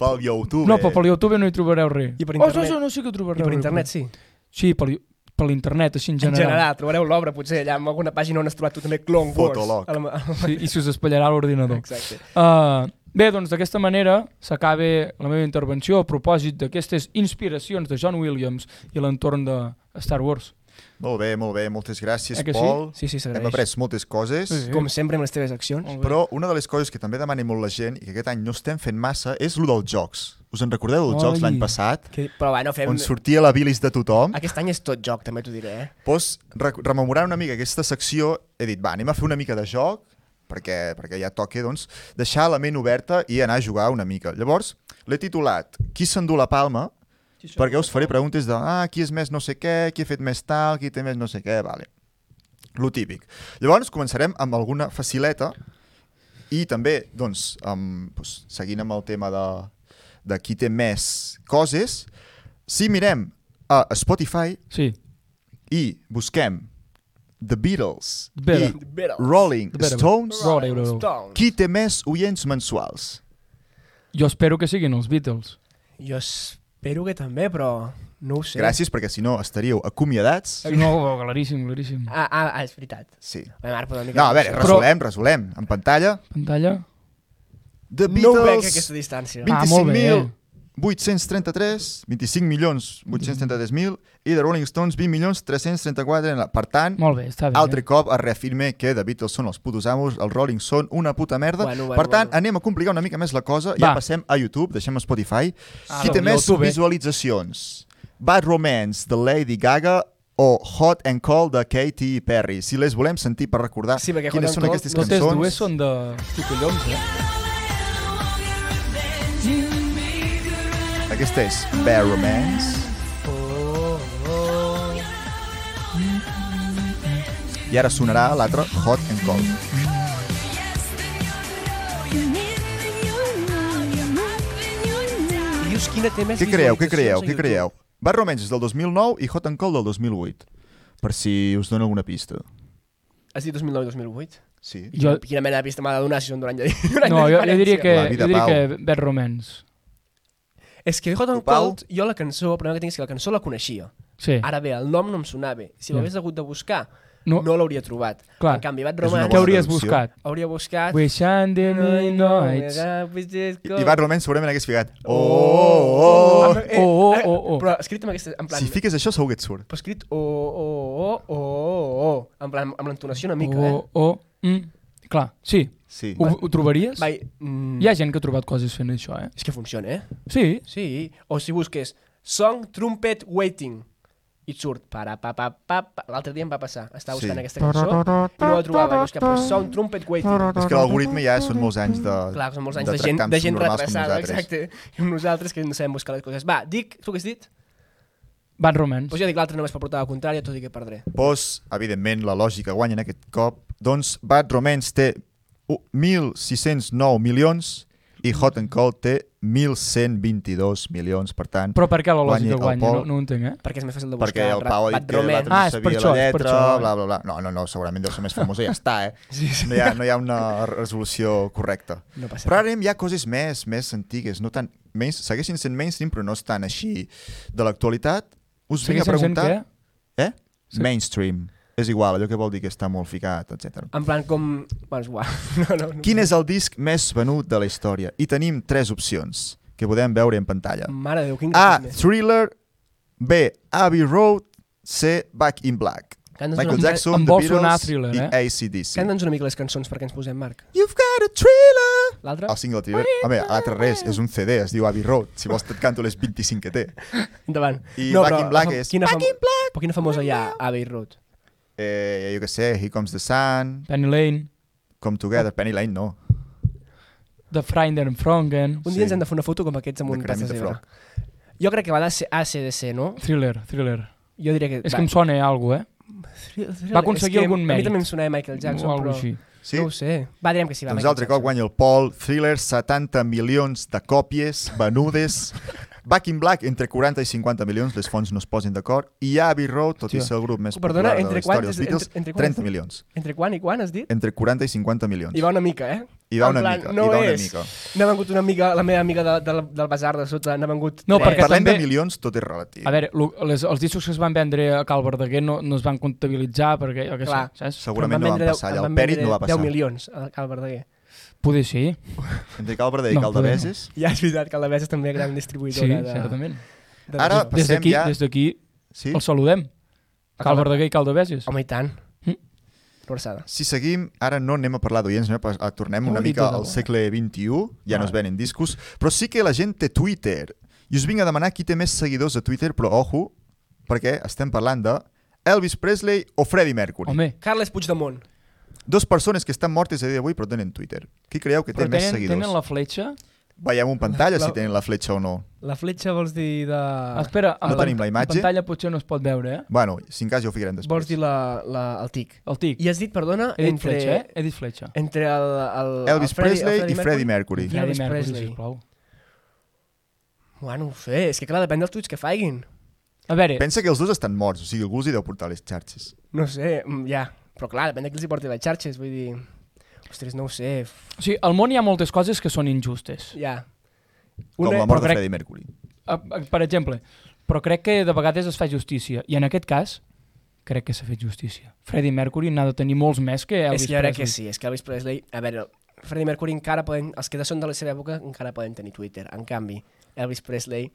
Speaker 1: Pel YouTube.
Speaker 2: No, però per YouTube no hi trobareu res.
Speaker 3: I per
Speaker 2: Oh,
Speaker 3: internet?
Speaker 2: això, això no sé que trobareu
Speaker 3: I per
Speaker 2: res.
Speaker 3: internet, sí.
Speaker 2: Sí, per, per l'internet, així en
Speaker 3: En
Speaker 2: general.
Speaker 3: general, trobareu l'obra, potser, allà en alguna pàgina on has trobat tu també Clone Wars.
Speaker 1: Fotolog.
Speaker 3: A la- a
Speaker 2: Sí, I se us espatllarà a
Speaker 3: la-
Speaker 2: l'ordinador.
Speaker 3: Exacte.
Speaker 2: Uh, bé, doncs d'aquesta manera s'acaba la meva intervenció a propòsit d'aquestes inspiracions de John Williams i l'entorn de Star Wars.
Speaker 1: Molt bé, molt bé. Moltes gràcies,
Speaker 2: Eh que sí?
Speaker 1: Pol.
Speaker 3: Sí, sí, s'agraeix.
Speaker 1: Hem après moltes coses.
Speaker 2: Sí, sí.
Speaker 3: Com sempre, amb les teves accions.
Speaker 2: Molt bé.
Speaker 1: Però una de les coses que també demana molt la gent i que aquest any no estem fent massa és lo dels jocs. Us en recordeu dels jocs
Speaker 2: Ai.
Speaker 1: l'any passat?
Speaker 3: Que, però bueno, fem...
Speaker 1: On sortia la bilis de tothom?
Speaker 3: Aquest any és tot joc, també t'ho diré, eh?
Speaker 1: Doncs, re rememorant una mica aquesta secció, he dit, va, anem a fer una mica de joc, perquè, perquè ja toca, doncs, deixar la ment oberta i anar a jugar una mica. Llavors, l'he titulat Qui s'endú la palma? Perquè us faré preguntes de, ah, qui és més no sé què, qui ha fet més tal, qui té més no sé què, vale. Lo típic. Llavors, començarem amb alguna facileta i també, doncs, amb, doncs seguint amb el tema de, de qui té més coses, si mirem a Spotify,
Speaker 2: Sí,
Speaker 1: i busquem The Beatles
Speaker 2: Beatles.
Speaker 1: i
Speaker 3: Beatles.
Speaker 1: Rolling
Speaker 2: The Beatles.
Speaker 1: Stones,
Speaker 2: Rolling
Speaker 3: Rolling
Speaker 2: Stones.
Speaker 3: Stones.
Speaker 1: qui té més oients mensuals?
Speaker 2: jo espero que siguin els Beatles.
Speaker 3: Jo es- Espero que també, però no ho sé.
Speaker 1: Gràcies, perquè si no estaríeu acomiadats.
Speaker 2: Sí, No, claríssim, claríssim.
Speaker 3: Ah, ah, ah és veritat.
Speaker 1: Sí.
Speaker 3: Bé, Marc, però una mica...
Speaker 1: No, a veure,
Speaker 2: Però-
Speaker 1: resolem, resolem. En pantalla,
Speaker 2: Pantalla.
Speaker 1: The
Speaker 3: No veig
Speaker 1: Beatles,
Speaker 3: aquesta distància.
Speaker 2: Ah, molt bé.
Speaker 1: 25.833, 25 milions 833.000 i The Rolling Stones 20 milions 334. en la- Per tant,
Speaker 2: Molt bé, està bé. eh?
Speaker 1: altre cop es reafirma que The Beatles són els putos amos, els Rolling són una puta merda.
Speaker 3: Bueno, bueno,
Speaker 1: per tant,
Speaker 3: bueno.
Speaker 1: anem a complicar una mica més la cosa.
Speaker 2: Va.
Speaker 1: Ja passem a YouTube, deixem Spotify.
Speaker 2: Ah,
Speaker 1: Qui té
Speaker 2: doncs,
Speaker 1: més
Speaker 2: YouTube, eh?
Speaker 1: visualitzacions? Bad Romance de Lady Gaga o Hot and Cold de Katy Perry. Si les volem sentir per recordar
Speaker 3: Sí, perquè Hot
Speaker 1: quines
Speaker 3: and
Speaker 1: són
Speaker 3: Cold
Speaker 1: aquestes
Speaker 3: no
Speaker 2: Totes
Speaker 1: cançons.
Speaker 2: dues són de xocollons, eh?
Speaker 1: Aquesta és Bad Romance.
Speaker 3: Oh, oh.
Speaker 1: I ara sonarà l'altre Hot and Cold.
Speaker 3: Dius quina té més
Speaker 1: Què creieu, què
Speaker 3: visualitzacions
Speaker 1: creieu,
Speaker 3: a
Speaker 1: què
Speaker 3: YouTube?
Speaker 1: creieu? Bad Romance és del 2009 i Hot and Cold del 2008. Per si us dona alguna pista.
Speaker 3: Has dit 2009 i 2008?
Speaker 1: Sí.
Speaker 3: I
Speaker 2: Jo-
Speaker 3: quina- Quina mena de pista m'ha de donar si són d'un any de d'un any
Speaker 2: No,
Speaker 3: de
Speaker 2: jo, jo diria
Speaker 3: diferència?
Speaker 2: que,
Speaker 1: La vida,
Speaker 2: jo diria
Speaker 1: Pau.
Speaker 2: que Bad Romance.
Speaker 3: És que Hot and
Speaker 1: Tu, Pau?
Speaker 3: Cold, jo la cançó, el problema que tinc és que la cançó la coneixia.
Speaker 2: Sí.
Speaker 3: Ara bé, el nom no em sonava. Si
Speaker 2: Ja.
Speaker 3: l'hagués hagut de buscar,
Speaker 2: No.
Speaker 3: no, no l'hauria trobat.
Speaker 2: Clar.
Speaker 3: En canvi, Bad
Speaker 1: És una
Speaker 2: Què
Speaker 1: bona
Speaker 3: Romance
Speaker 2: hauries
Speaker 1: traducció.
Speaker 2: buscat?
Speaker 3: hauria buscat...
Speaker 2: We shandy nights.
Speaker 1: I, I Bad Romance segurament hagués ficat... Oh, oh, oh.
Speaker 3: Eh, eh,
Speaker 2: Oh, oh, oh, oh.
Speaker 3: Però escrit amb aquesta... En plan,
Speaker 1: Si fiques això segur que et surt.
Speaker 3: però escrit oh, oh, oh, oh, oh, oh, en plan, amb l'entonació una mica, eh?
Speaker 2: O, o, Oh, mm, clar, sí.
Speaker 1: Sí.
Speaker 2: Ho, ho trobaries?
Speaker 3: eh? Vai, mm,
Speaker 2: Hi ha gent que ha trobat coses fent això, eh?
Speaker 3: És que funciona, eh?
Speaker 2: Sí.
Speaker 3: Sí. O si busques Song Trumpet Waiting i et surt para pa pa pa, pa. l'altre dia em va passar estava
Speaker 1: Sí.
Speaker 3: buscant aquesta cançó i no la trobava vaig buscar però Sound Trumpet Waiting
Speaker 1: És que l'algoritme ja són molts anys de...
Speaker 3: clar, són molts anys de, gent,
Speaker 1: tractar amb
Speaker 3: de gent
Speaker 1: subnormals com
Speaker 3: retrasada
Speaker 1: nosaltres.
Speaker 3: exacte, com nosaltres que no sabem buscar les coses va, dic, tu què has dit?
Speaker 2: Van Romance.
Speaker 3: doncs jo dic l'altre només per portar la contrària tot i que perdré
Speaker 1: Doncs, evidentment, la lògica guanya en aquest cop. Doncs Bad Romance té u- 1.609 milions i Hot and Cold té 1.122 milions. Per tant,
Speaker 2: Però per què la
Speaker 1: Guanyi
Speaker 2: lògica
Speaker 1: el
Speaker 2: guanya? No,
Speaker 1: Pol.
Speaker 2: no ho entenc, eh?
Speaker 3: perquè és més fàcil de buscar
Speaker 1: perquè el Pau ha dit
Speaker 3: Bad
Speaker 1: que l'altre
Speaker 3: Romance
Speaker 1: no
Speaker 2: Ah, és per
Speaker 1: sabia
Speaker 2: això,
Speaker 1: la
Speaker 2: és per
Speaker 1: lletra,
Speaker 2: això.
Speaker 1: bla, bla, bla. No, no, no, segurament deu ser més famosa i ja està, eh? No hi ha, no hi ha una resolució correcta.
Speaker 3: no passa
Speaker 1: Però
Speaker 3: res.
Speaker 1: ara anem ja a coses més, més antigues, no tan... Menys, segueixin sent mainstream, però no estan així de l'actualitat. Us vinc a
Speaker 2: Segueixen sent
Speaker 1: preguntar...
Speaker 2: què?
Speaker 1: Eh?
Speaker 2: Sí.
Speaker 1: Mainstream. És igual, allò que vol dir que està molt ficat, etc.
Speaker 3: en plan com bueno, és igual no, no, no.
Speaker 1: Quin és el disc més venut de la història? I tenim tres opcions que podem veure en pantalla.
Speaker 2: Mm,
Speaker 3: mare de Déu, quin
Speaker 1: A.
Speaker 3: grafisme.
Speaker 1: Thriller B. Abbey Road C. Back in Black
Speaker 3: Canta'ns una
Speaker 1: Michael
Speaker 3: mica-
Speaker 1: Jackson,
Speaker 2: Em
Speaker 1: The
Speaker 2: vol sonar
Speaker 1: Beatles
Speaker 2: Thriller,
Speaker 1: i
Speaker 2: eh?
Speaker 1: ACDC.
Speaker 3: Canta'ns una mica les cançons perquè ens posem, Marc.
Speaker 1: You've got a thriller
Speaker 3: L'altra?
Speaker 1: el single Thriller, home, l'altre res, és un CD, es diu Abbey Road, si vols te't canto les 25 que té.
Speaker 3: Endavant.
Speaker 1: I Back in Black
Speaker 3: la fam-
Speaker 1: és-
Speaker 3: Quina
Speaker 1: Back in
Speaker 3: Black! Però quina famosa hi ha a Abbey Road?
Speaker 1: Eh, jo què sé, Here Comes the Sun,
Speaker 2: Penny Lane,
Speaker 1: Come Together, Penny Lane no.
Speaker 2: The Freund and Frongen,
Speaker 3: Un
Speaker 1: Sí.
Speaker 3: dia ens hem de fer una foto com aquests amb
Speaker 1: De
Speaker 3: un
Speaker 1: Kermit
Speaker 3: pas de
Speaker 1: the
Speaker 3: zebra. Jo crec que va de ser ACDC, no?
Speaker 2: Thriller, Thriller.
Speaker 3: Jo diria que...
Speaker 2: És que em sona alguna cosa, eh? va aconseguir algun
Speaker 3: mèrit. A
Speaker 2: mèrit.
Speaker 3: mi també em sonava Michael
Speaker 2: o
Speaker 3: Jackson,
Speaker 2: alguna
Speaker 3: però...
Speaker 2: així.
Speaker 1: Sí?
Speaker 3: No ho sé. Va, direm que sí, va,
Speaker 1: doncs
Speaker 3: Michael
Speaker 1: altre cop
Speaker 3: Jackson.
Speaker 1: guanya el Paul, Thriller, 70 milions de còpies venudes, Back in Black, entre 40 i 50 milions, les fonts no es posin d'acord, i Abbey Road, tot i
Speaker 2: Hòstia.
Speaker 1: ser el grup més
Speaker 3: Perdona,
Speaker 1: popular de
Speaker 3: entre
Speaker 1: la història
Speaker 3: quants-
Speaker 1: dels Beatles,
Speaker 3: entre- entre quants-
Speaker 1: 30 milions.
Speaker 3: Entre quan i quan, has dit?
Speaker 1: Entre 40 i 50 milions.
Speaker 3: Hi va una mica, eh?
Speaker 1: Hi Doncs va
Speaker 3: En
Speaker 1: una
Speaker 3: plan,
Speaker 1: mica,
Speaker 3: no
Speaker 1: hi va una
Speaker 3: és.
Speaker 1: mica.
Speaker 3: N'ha vengut una amiga, la meva amiga de, del, del basar de sota, n'ha vengut...
Speaker 2: No,
Speaker 3: tres.
Speaker 2: perquè-
Speaker 1: Parlem
Speaker 2: també-
Speaker 1: de milions, tot és relatiu.
Speaker 2: A veure, lo- les, els discos que es van vendre a Cal Verdaguer no, no es van comptabilitzar perquè, jo què sé,
Speaker 3: Clar.
Speaker 2: saps?
Speaker 3: Però em
Speaker 1: Segurament no van
Speaker 3: vendre deu-
Speaker 1: passar
Speaker 3: em
Speaker 1: allà, el
Speaker 3: van
Speaker 1: Perit
Speaker 3: vendre
Speaker 1: no va
Speaker 3: 10
Speaker 1: passar.
Speaker 3: milions al Cal Verdaguer.
Speaker 2: Poder sí.
Speaker 1: Entre Calverda i
Speaker 2: No,
Speaker 1: Caldaveses.
Speaker 3: Ja és veritat que la Besa és també gran
Speaker 2: Sí,
Speaker 3: distribuïdora de...
Speaker 2: certament.
Speaker 3: de
Speaker 1: Ara-
Speaker 2: Des
Speaker 1: Passem
Speaker 2: d'aquí,
Speaker 1: ja-
Speaker 2: des d'aquí,
Speaker 1: Sí?
Speaker 2: els saludem. Cal Verdaguer i Cal de Beses.
Speaker 3: Home, i tant.
Speaker 2: Hm?
Speaker 3: Forçada.
Speaker 1: Si seguim, ara no anem a parlar d'oients, anem a pas- a- tornem
Speaker 2: Ho
Speaker 1: una
Speaker 2: he dit
Speaker 1: mica
Speaker 2: tot
Speaker 1: al
Speaker 2: avui.
Speaker 1: segle XXI, ja
Speaker 2: Ah.
Speaker 1: no es venen discos, però sí que la gent té Twitter. I us vinc a demanar qui té més seguidors a Twitter, però ojo, perquè estem parlant de Elvis Presley o Freddie Mercury.
Speaker 2: Home,
Speaker 3: Carles Puigdemont.
Speaker 1: Dos persones que estan mortes a dia d'avui però tenen Twitter. Qui creieu que té
Speaker 2: però
Speaker 1: més
Speaker 2: tenen,
Speaker 1: seguidors?
Speaker 2: tenen la fletxa?
Speaker 1: Veiem un pantalla
Speaker 3: La-
Speaker 1: si tenen la fletxa o no.
Speaker 3: La fletxa vols dir de...
Speaker 2: Ah, Espera, en
Speaker 1: no
Speaker 2: pan-
Speaker 1: tenim la
Speaker 2: en
Speaker 1: imatge?
Speaker 2: pantalla potser no es pot veure, eh?
Speaker 1: Bueno, si en cas ja ho ficarem després.
Speaker 3: Vols dir la, la, el tic.
Speaker 2: El tic.
Speaker 3: I has dit, perdona,
Speaker 2: He dit
Speaker 3: entre,
Speaker 2: fletxa, eh? He dit fletxa.
Speaker 3: entre el, el,
Speaker 1: Elvis
Speaker 3: el Freddy,
Speaker 1: Presley
Speaker 3: el
Speaker 1: i Freddie Mercury.
Speaker 3: I Elvis
Speaker 2: Freddie
Speaker 3: Presley.
Speaker 2: sisplau.
Speaker 3: Bueno, no ho sé, és que clar, depèn dels tuits que faiguin.
Speaker 2: A veure,
Speaker 1: Pensa que els dos estan morts, o sigui, algú els hi deu portar a les xarxes.
Speaker 3: No sé, mm, ja. Però clar, depèn de qui els hi porti les xarxes, vull dir... Ostres, no ho sé. f-
Speaker 2: o sigui, al món hi ha moltes coses que són injustes.
Speaker 3: Ja.
Speaker 1: Com la
Speaker 3: però
Speaker 1: mort de
Speaker 2: crec-
Speaker 1: Freddie Mercury.
Speaker 2: eh, eh, per exemple, però crec que de vegades es fa justícia, i en aquest cas crec que s'ha fet justícia. Freddie Mercury n'ha de tenir molts més que Elvis
Speaker 3: és que jo crec
Speaker 2: Presley.
Speaker 3: que sí, és que Elvis Presley... A veure, Freddie Mercury encara poden... Els que són de la seva època encara poden tenir Twitter. En canvi, Elvis Presley...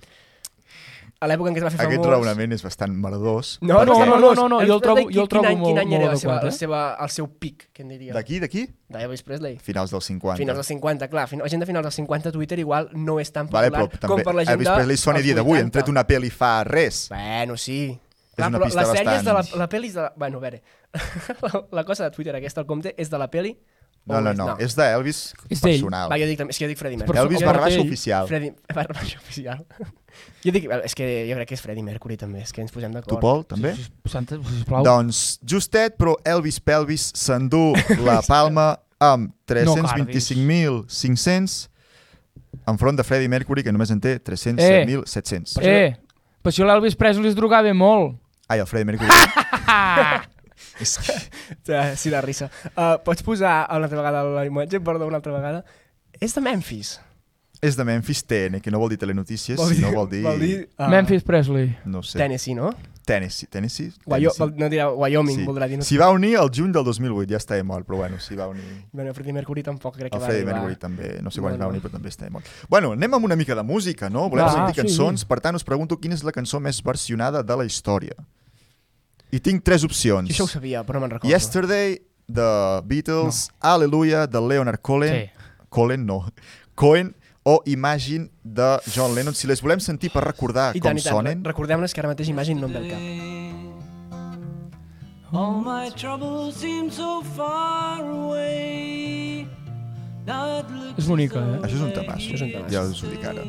Speaker 3: A l'època en què es va fer
Speaker 1: Aquest
Speaker 3: famós...
Speaker 1: raonament és bastant merdós.
Speaker 3: No, no,
Speaker 1: perquè-
Speaker 3: no, no, no,
Speaker 2: no,
Speaker 3: Elvis
Speaker 2: jo el trobo-
Speaker 3: Presley,
Speaker 2: jo el
Speaker 3: quin-
Speaker 2: trobo
Speaker 3: quin any,
Speaker 2: molt-
Speaker 3: quin any era
Speaker 2: molt
Speaker 3: la seva,
Speaker 2: adequat,
Speaker 3: la
Speaker 2: eh?
Speaker 3: seva, el seu pic, que en diria,
Speaker 1: D'aquí, d'aquí?
Speaker 3: d'Elvis Presley.
Speaker 1: Finals dels 50.
Speaker 3: Finals dels 50, clar, fin... la gent de finals dels 50 Twitter igual no és tan
Speaker 1: Vale,
Speaker 3: popular
Speaker 1: però
Speaker 3: com
Speaker 1: també eh,
Speaker 3: per la gent
Speaker 1: Elvis Presley sona a
Speaker 3: dels
Speaker 1: dia d'avui, han
Speaker 3: 80.
Speaker 1: tret una pel·li fa res.
Speaker 3: Bueno, sí. Clar,
Speaker 1: una
Speaker 3: però
Speaker 1: pista
Speaker 3: la sèrie és de la,
Speaker 1: bastant-
Speaker 3: la pel·li és de la... Bueno, a veure, la, la cosa de Twitter aquesta, el compte, és de la pel·li? o
Speaker 1: No, no, no, és d'Elvis
Speaker 2: És d'ell.
Speaker 1: personal.
Speaker 3: Va, jo dic, també- és que jo dic Freddie Mercury.
Speaker 2: Però
Speaker 1: Elvis
Speaker 2: suposo
Speaker 1: barra baixa
Speaker 2: que ell-
Speaker 1: oficial.
Speaker 3: Freddie, barra baixa oficial. jo dic, és que jo crec que és Freddie Mercury també, és que ens posem
Speaker 1: Tu,
Speaker 3: d'acord.
Speaker 1: Pol, també?
Speaker 2: Sí, sí, Santa, sisplau.
Speaker 1: Doncs justet, però Elvis Pelvis s'endú la palma amb 325.500 enfront de Freddie Mercury, que només en té 307.700. Eh.
Speaker 2: Eh, però si l'Elvis Presley es drogava molt.
Speaker 1: Ai, el Freddie Mercury. És que...
Speaker 3: Eh, Sí, la risa. Uh, pots posar una altra vegada la imatge? Perdó, una altra vegada. És de Memphis.
Speaker 1: És de Memphis TN, que no vol dir telenotícies, vol dir, sinó vol dir...
Speaker 3: Vol dir uh,
Speaker 2: Memphis Presley.
Speaker 1: No ho sé.
Speaker 3: Tennessee, no?
Speaker 1: Tennessee. Tennessee?
Speaker 3: Guayo,
Speaker 1: Tennessee.
Speaker 3: no dirà Wyoming,
Speaker 1: Sí.
Speaker 3: voldrà dir. No?
Speaker 1: S'hi va unir el juny del 2008, ja estava mort, però bueno, s'hi va unir...
Speaker 3: Bueno, Freddie Mercury tampoc crec que
Speaker 1: El
Speaker 3: va
Speaker 1: Freddie
Speaker 3: arribar.
Speaker 1: Mercury també, no sé quan
Speaker 3: No,
Speaker 1: es va
Speaker 3: no.
Speaker 1: unir, però també està mort. Bueno, anem amb una mica de música, no? Volem
Speaker 3: Ah,
Speaker 2: Va,
Speaker 1: sentir
Speaker 2: sí,
Speaker 1: cançons,
Speaker 2: sí.
Speaker 1: per tant us pregunto quina és la cançó més versionada de la història. I tinc tres opcions.
Speaker 3: Jo això ho sabia, però no me'n recordo.
Speaker 1: Yesterday, de Beatles, Hallelujah, de Leonard Cohen,
Speaker 2: Sí.
Speaker 1: Cohen no, Cohen, o Imagine, de John Lennon. Si les volem sentir per recordar
Speaker 3: I tant,
Speaker 1: com
Speaker 3: i tant.
Speaker 1: sonen...
Speaker 3: Recordem-les que ara mateix Imagine no em ve al cap.
Speaker 4: All my troubles seem so far away. Now it looks
Speaker 2: És bonica, eh?
Speaker 1: Això és un temasso.
Speaker 3: Això és un temasso.
Speaker 1: Ja us ho dic ara.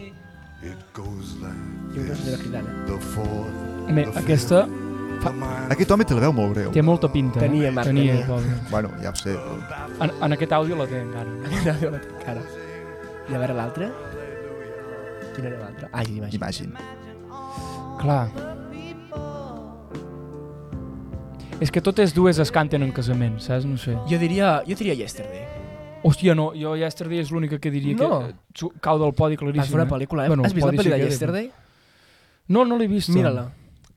Speaker 5: It goes like
Speaker 3: I una senyora cridant.
Speaker 5: the fourth.
Speaker 2: Bé, aquesta
Speaker 5: the minor
Speaker 1: Aquest home té la veu molt greu.
Speaker 2: té molta pinta. eh?
Speaker 3: Tenia, Marc,
Speaker 2: tenia.
Speaker 3: tenia.
Speaker 2: pobre.
Speaker 1: Bueno, ja ho sé. Però...
Speaker 2: En, en aquest àudio la té encara.
Speaker 3: Mira, jo la tinc ara. I a veure l'altra? Quina era l'altra? Ah, Imagine.
Speaker 1: Imagine.
Speaker 2: Clar. És que totes dues es canten en casament, saps? No sé.
Speaker 3: Jo diria, jo diria Yesterday.
Speaker 2: Hòstia, no, jo Yesterday és l'única que diria
Speaker 3: No.
Speaker 2: que eh, xu- cau del podi
Speaker 3: Vas
Speaker 2: claríssim.
Speaker 3: fer una
Speaker 2: eh?
Speaker 3: pel·lícula, eh?
Speaker 2: Bueno,
Speaker 3: Has vist la
Speaker 2: podi
Speaker 3: pel·li
Speaker 2: sí
Speaker 3: de
Speaker 2: que-
Speaker 3: Yesterday?
Speaker 2: No, no l'he vist.
Speaker 3: Mira-la.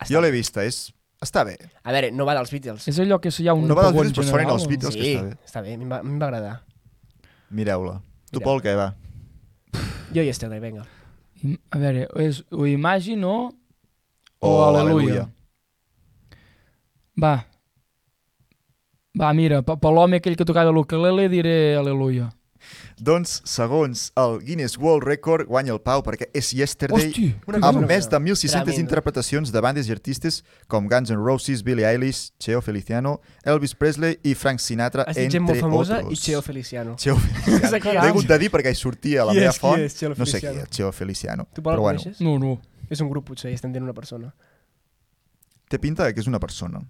Speaker 1: Jo l'he vista, és... està bé.
Speaker 3: A veure, no va dels Beatles.
Speaker 2: És allò que hi ha un
Speaker 1: No va dels
Speaker 2: pagó en
Speaker 1: Beatles, però sonen
Speaker 2: general,
Speaker 1: els
Speaker 2: o-
Speaker 1: Beatles. que
Speaker 3: Sí,
Speaker 1: està bé.
Speaker 3: està bé, a mi em va, a mi em va agradar.
Speaker 1: Mireu-la. Tu,
Speaker 3: Mireu.
Speaker 1: Pol, què va?
Speaker 3: Jo Yesterday, vinga.
Speaker 2: Im- A veure, és o Imagine o... O
Speaker 1: Oh,
Speaker 2: Aleluia. Va. Va, mira, pe- per l'home aquell que tocava l'ukelele diré Aleluia.
Speaker 1: Doncs, segons el Guinness World Record, guanya el Pau perquè és Yesterday
Speaker 2: Hosti!
Speaker 3: Una
Speaker 1: amb
Speaker 3: cosa-
Speaker 1: més de 1.600
Speaker 3: Tremendo.
Speaker 1: interpretacions de bandes i artistes com Guns N' Roses, Billie Eilish, Cheo Feliciano, Elvis Presley i Frank Sinatra,
Speaker 3: Has dit
Speaker 1: entre
Speaker 3: gent molt famosa
Speaker 1: otros.
Speaker 3: i Cheo Feliciano.
Speaker 1: Cheo Feliciano.
Speaker 3: Saca
Speaker 1: L'he
Speaker 3: la-
Speaker 1: hagut de dir perquè hi sortia a la
Speaker 3: Qui
Speaker 1: meva
Speaker 3: és, qui
Speaker 1: font.
Speaker 3: és Cheo
Speaker 1: No sé qui
Speaker 3: Feliciano?
Speaker 1: és Cheo Feliciano.
Speaker 3: Tu, Pol,
Speaker 1: Però
Speaker 3: la
Speaker 1: bueno,
Speaker 3: coneixes?
Speaker 2: No, no.
Speaker 3: És un grup, potser, i estem dient una persona.
Speaker 1: té pinta de que és una persona.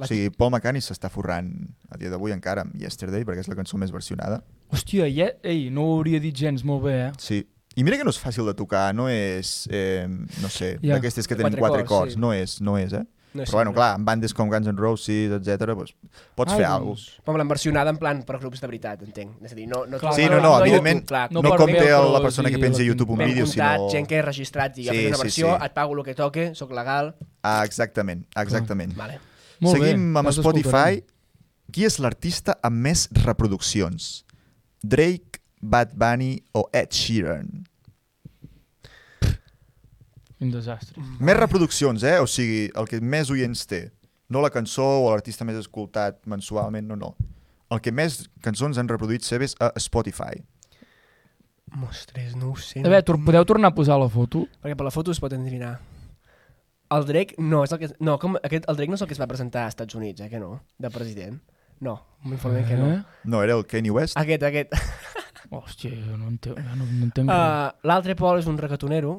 Speaker 3: La
Speaker 1: O sigui, Paul McCartney s'està forrant a dia d'avui encara amb Yesterday, perquè és la cançó més versionada.
Speaker 2: Hòstia, ja, ei, no ho hauria dit gens molt bé, eh?
Speaker 1: Sí. I mira que no és fàcil de tocar, no és, eh, no sé,
Speaker 2: Ja.
Speaker 1: yeah. d'aquestes que
Speaker 3: De
Speaker 1: tenen
Speaker 3: quatre
Speaker 1: quatre
Speaker 3: cords,
Speaker 1: cords,
Speaker 3: sí.
Speaker 1: no és, no és, eh?
Speaker 3: No és
Speaker 1: Però bueno,
Speaker 3: simple.
Speaker 1: clar, amb bandes com Guns N' Roses, etc, doncs, pots
Speaker 2: Ai,
Speaker 1: fer
Speaker 2: doncs.
Speaker 1: alguna cosa.
Speaker 3: Però l'han versionada en plan per grups de veritat, entenc. És a dir, no... no
Speaker 2: Clar,
Speaker 1: Sí,
Speaker 2: clar,
Speaker 1: no, no,
Speaker 2: no,
Speaker 1: evidentment,
Speaker 3: YouTube, clar,
Speaker 1: no,
Speaker 2: no
Speaker 1: no
Speaker 2: per
Speaker 1: compta
Speaker 2: veure, però
Speaker 1: la persona
Speaker 2: sí,
Speaker 1: que penja a
Speaker 2: la-
Speaker 1: YouTube un
Speaker 3: Ben
Speaker 1: vídeo,
Speaker 3: comptat,
Speaker 1: sinó...
Speaker 3: gent que és registrat i ha
Speaker 1: Sí,
Speaker 3: fet una
Speaker 1: sí,
Speaker 3: versió,
Speaker 1: sí.
Speaker 3: et pago el que toque, sóc legal,
Speaker 1: Ah, exactament, exactament.
Speaker 3: vale.
Speaker 2: Molt
Speaker 1: Seguim
Speaker 2: bé,
Speaker 1: amb
Speaker 2: les
Speaker 1: Spotify.
Speaker 2: escoltarem.
Speaker 1: Qui és l'artista amb més reproduccions? Drake, Bad Bunny o Ed Sheeran?
Speaker 2: Un desastre.
Speaker 3: Mm.
Speaker 1: Més reproduccions, eh? O sigui, el que més oients té. No la cançó o l'artista més escoltat mensualment, no, no. El que més cançons han reproduït seves a Spotify.
Speaker 3: Mostres, no ho sé.
Speaker 2: A veure, tor- podeu tornar a posar la foto?
Speaker 3: Perquè per la foto es pot endevinar. El Drake no és el que... No, com, aquest, el Drake no és el que es va presentar a Estats Units, eh, que no? De president. No, m'informen que no.
Speaker 2: Eh?
Speaker 1: No, era el Kanye West?
Speaker 3: Aquest, aquest.
Speaker 2: Hòstia, jo no entenc, ja no, no entenc uh,
Speaker 3: Uh, l'altre Pol és un racatonero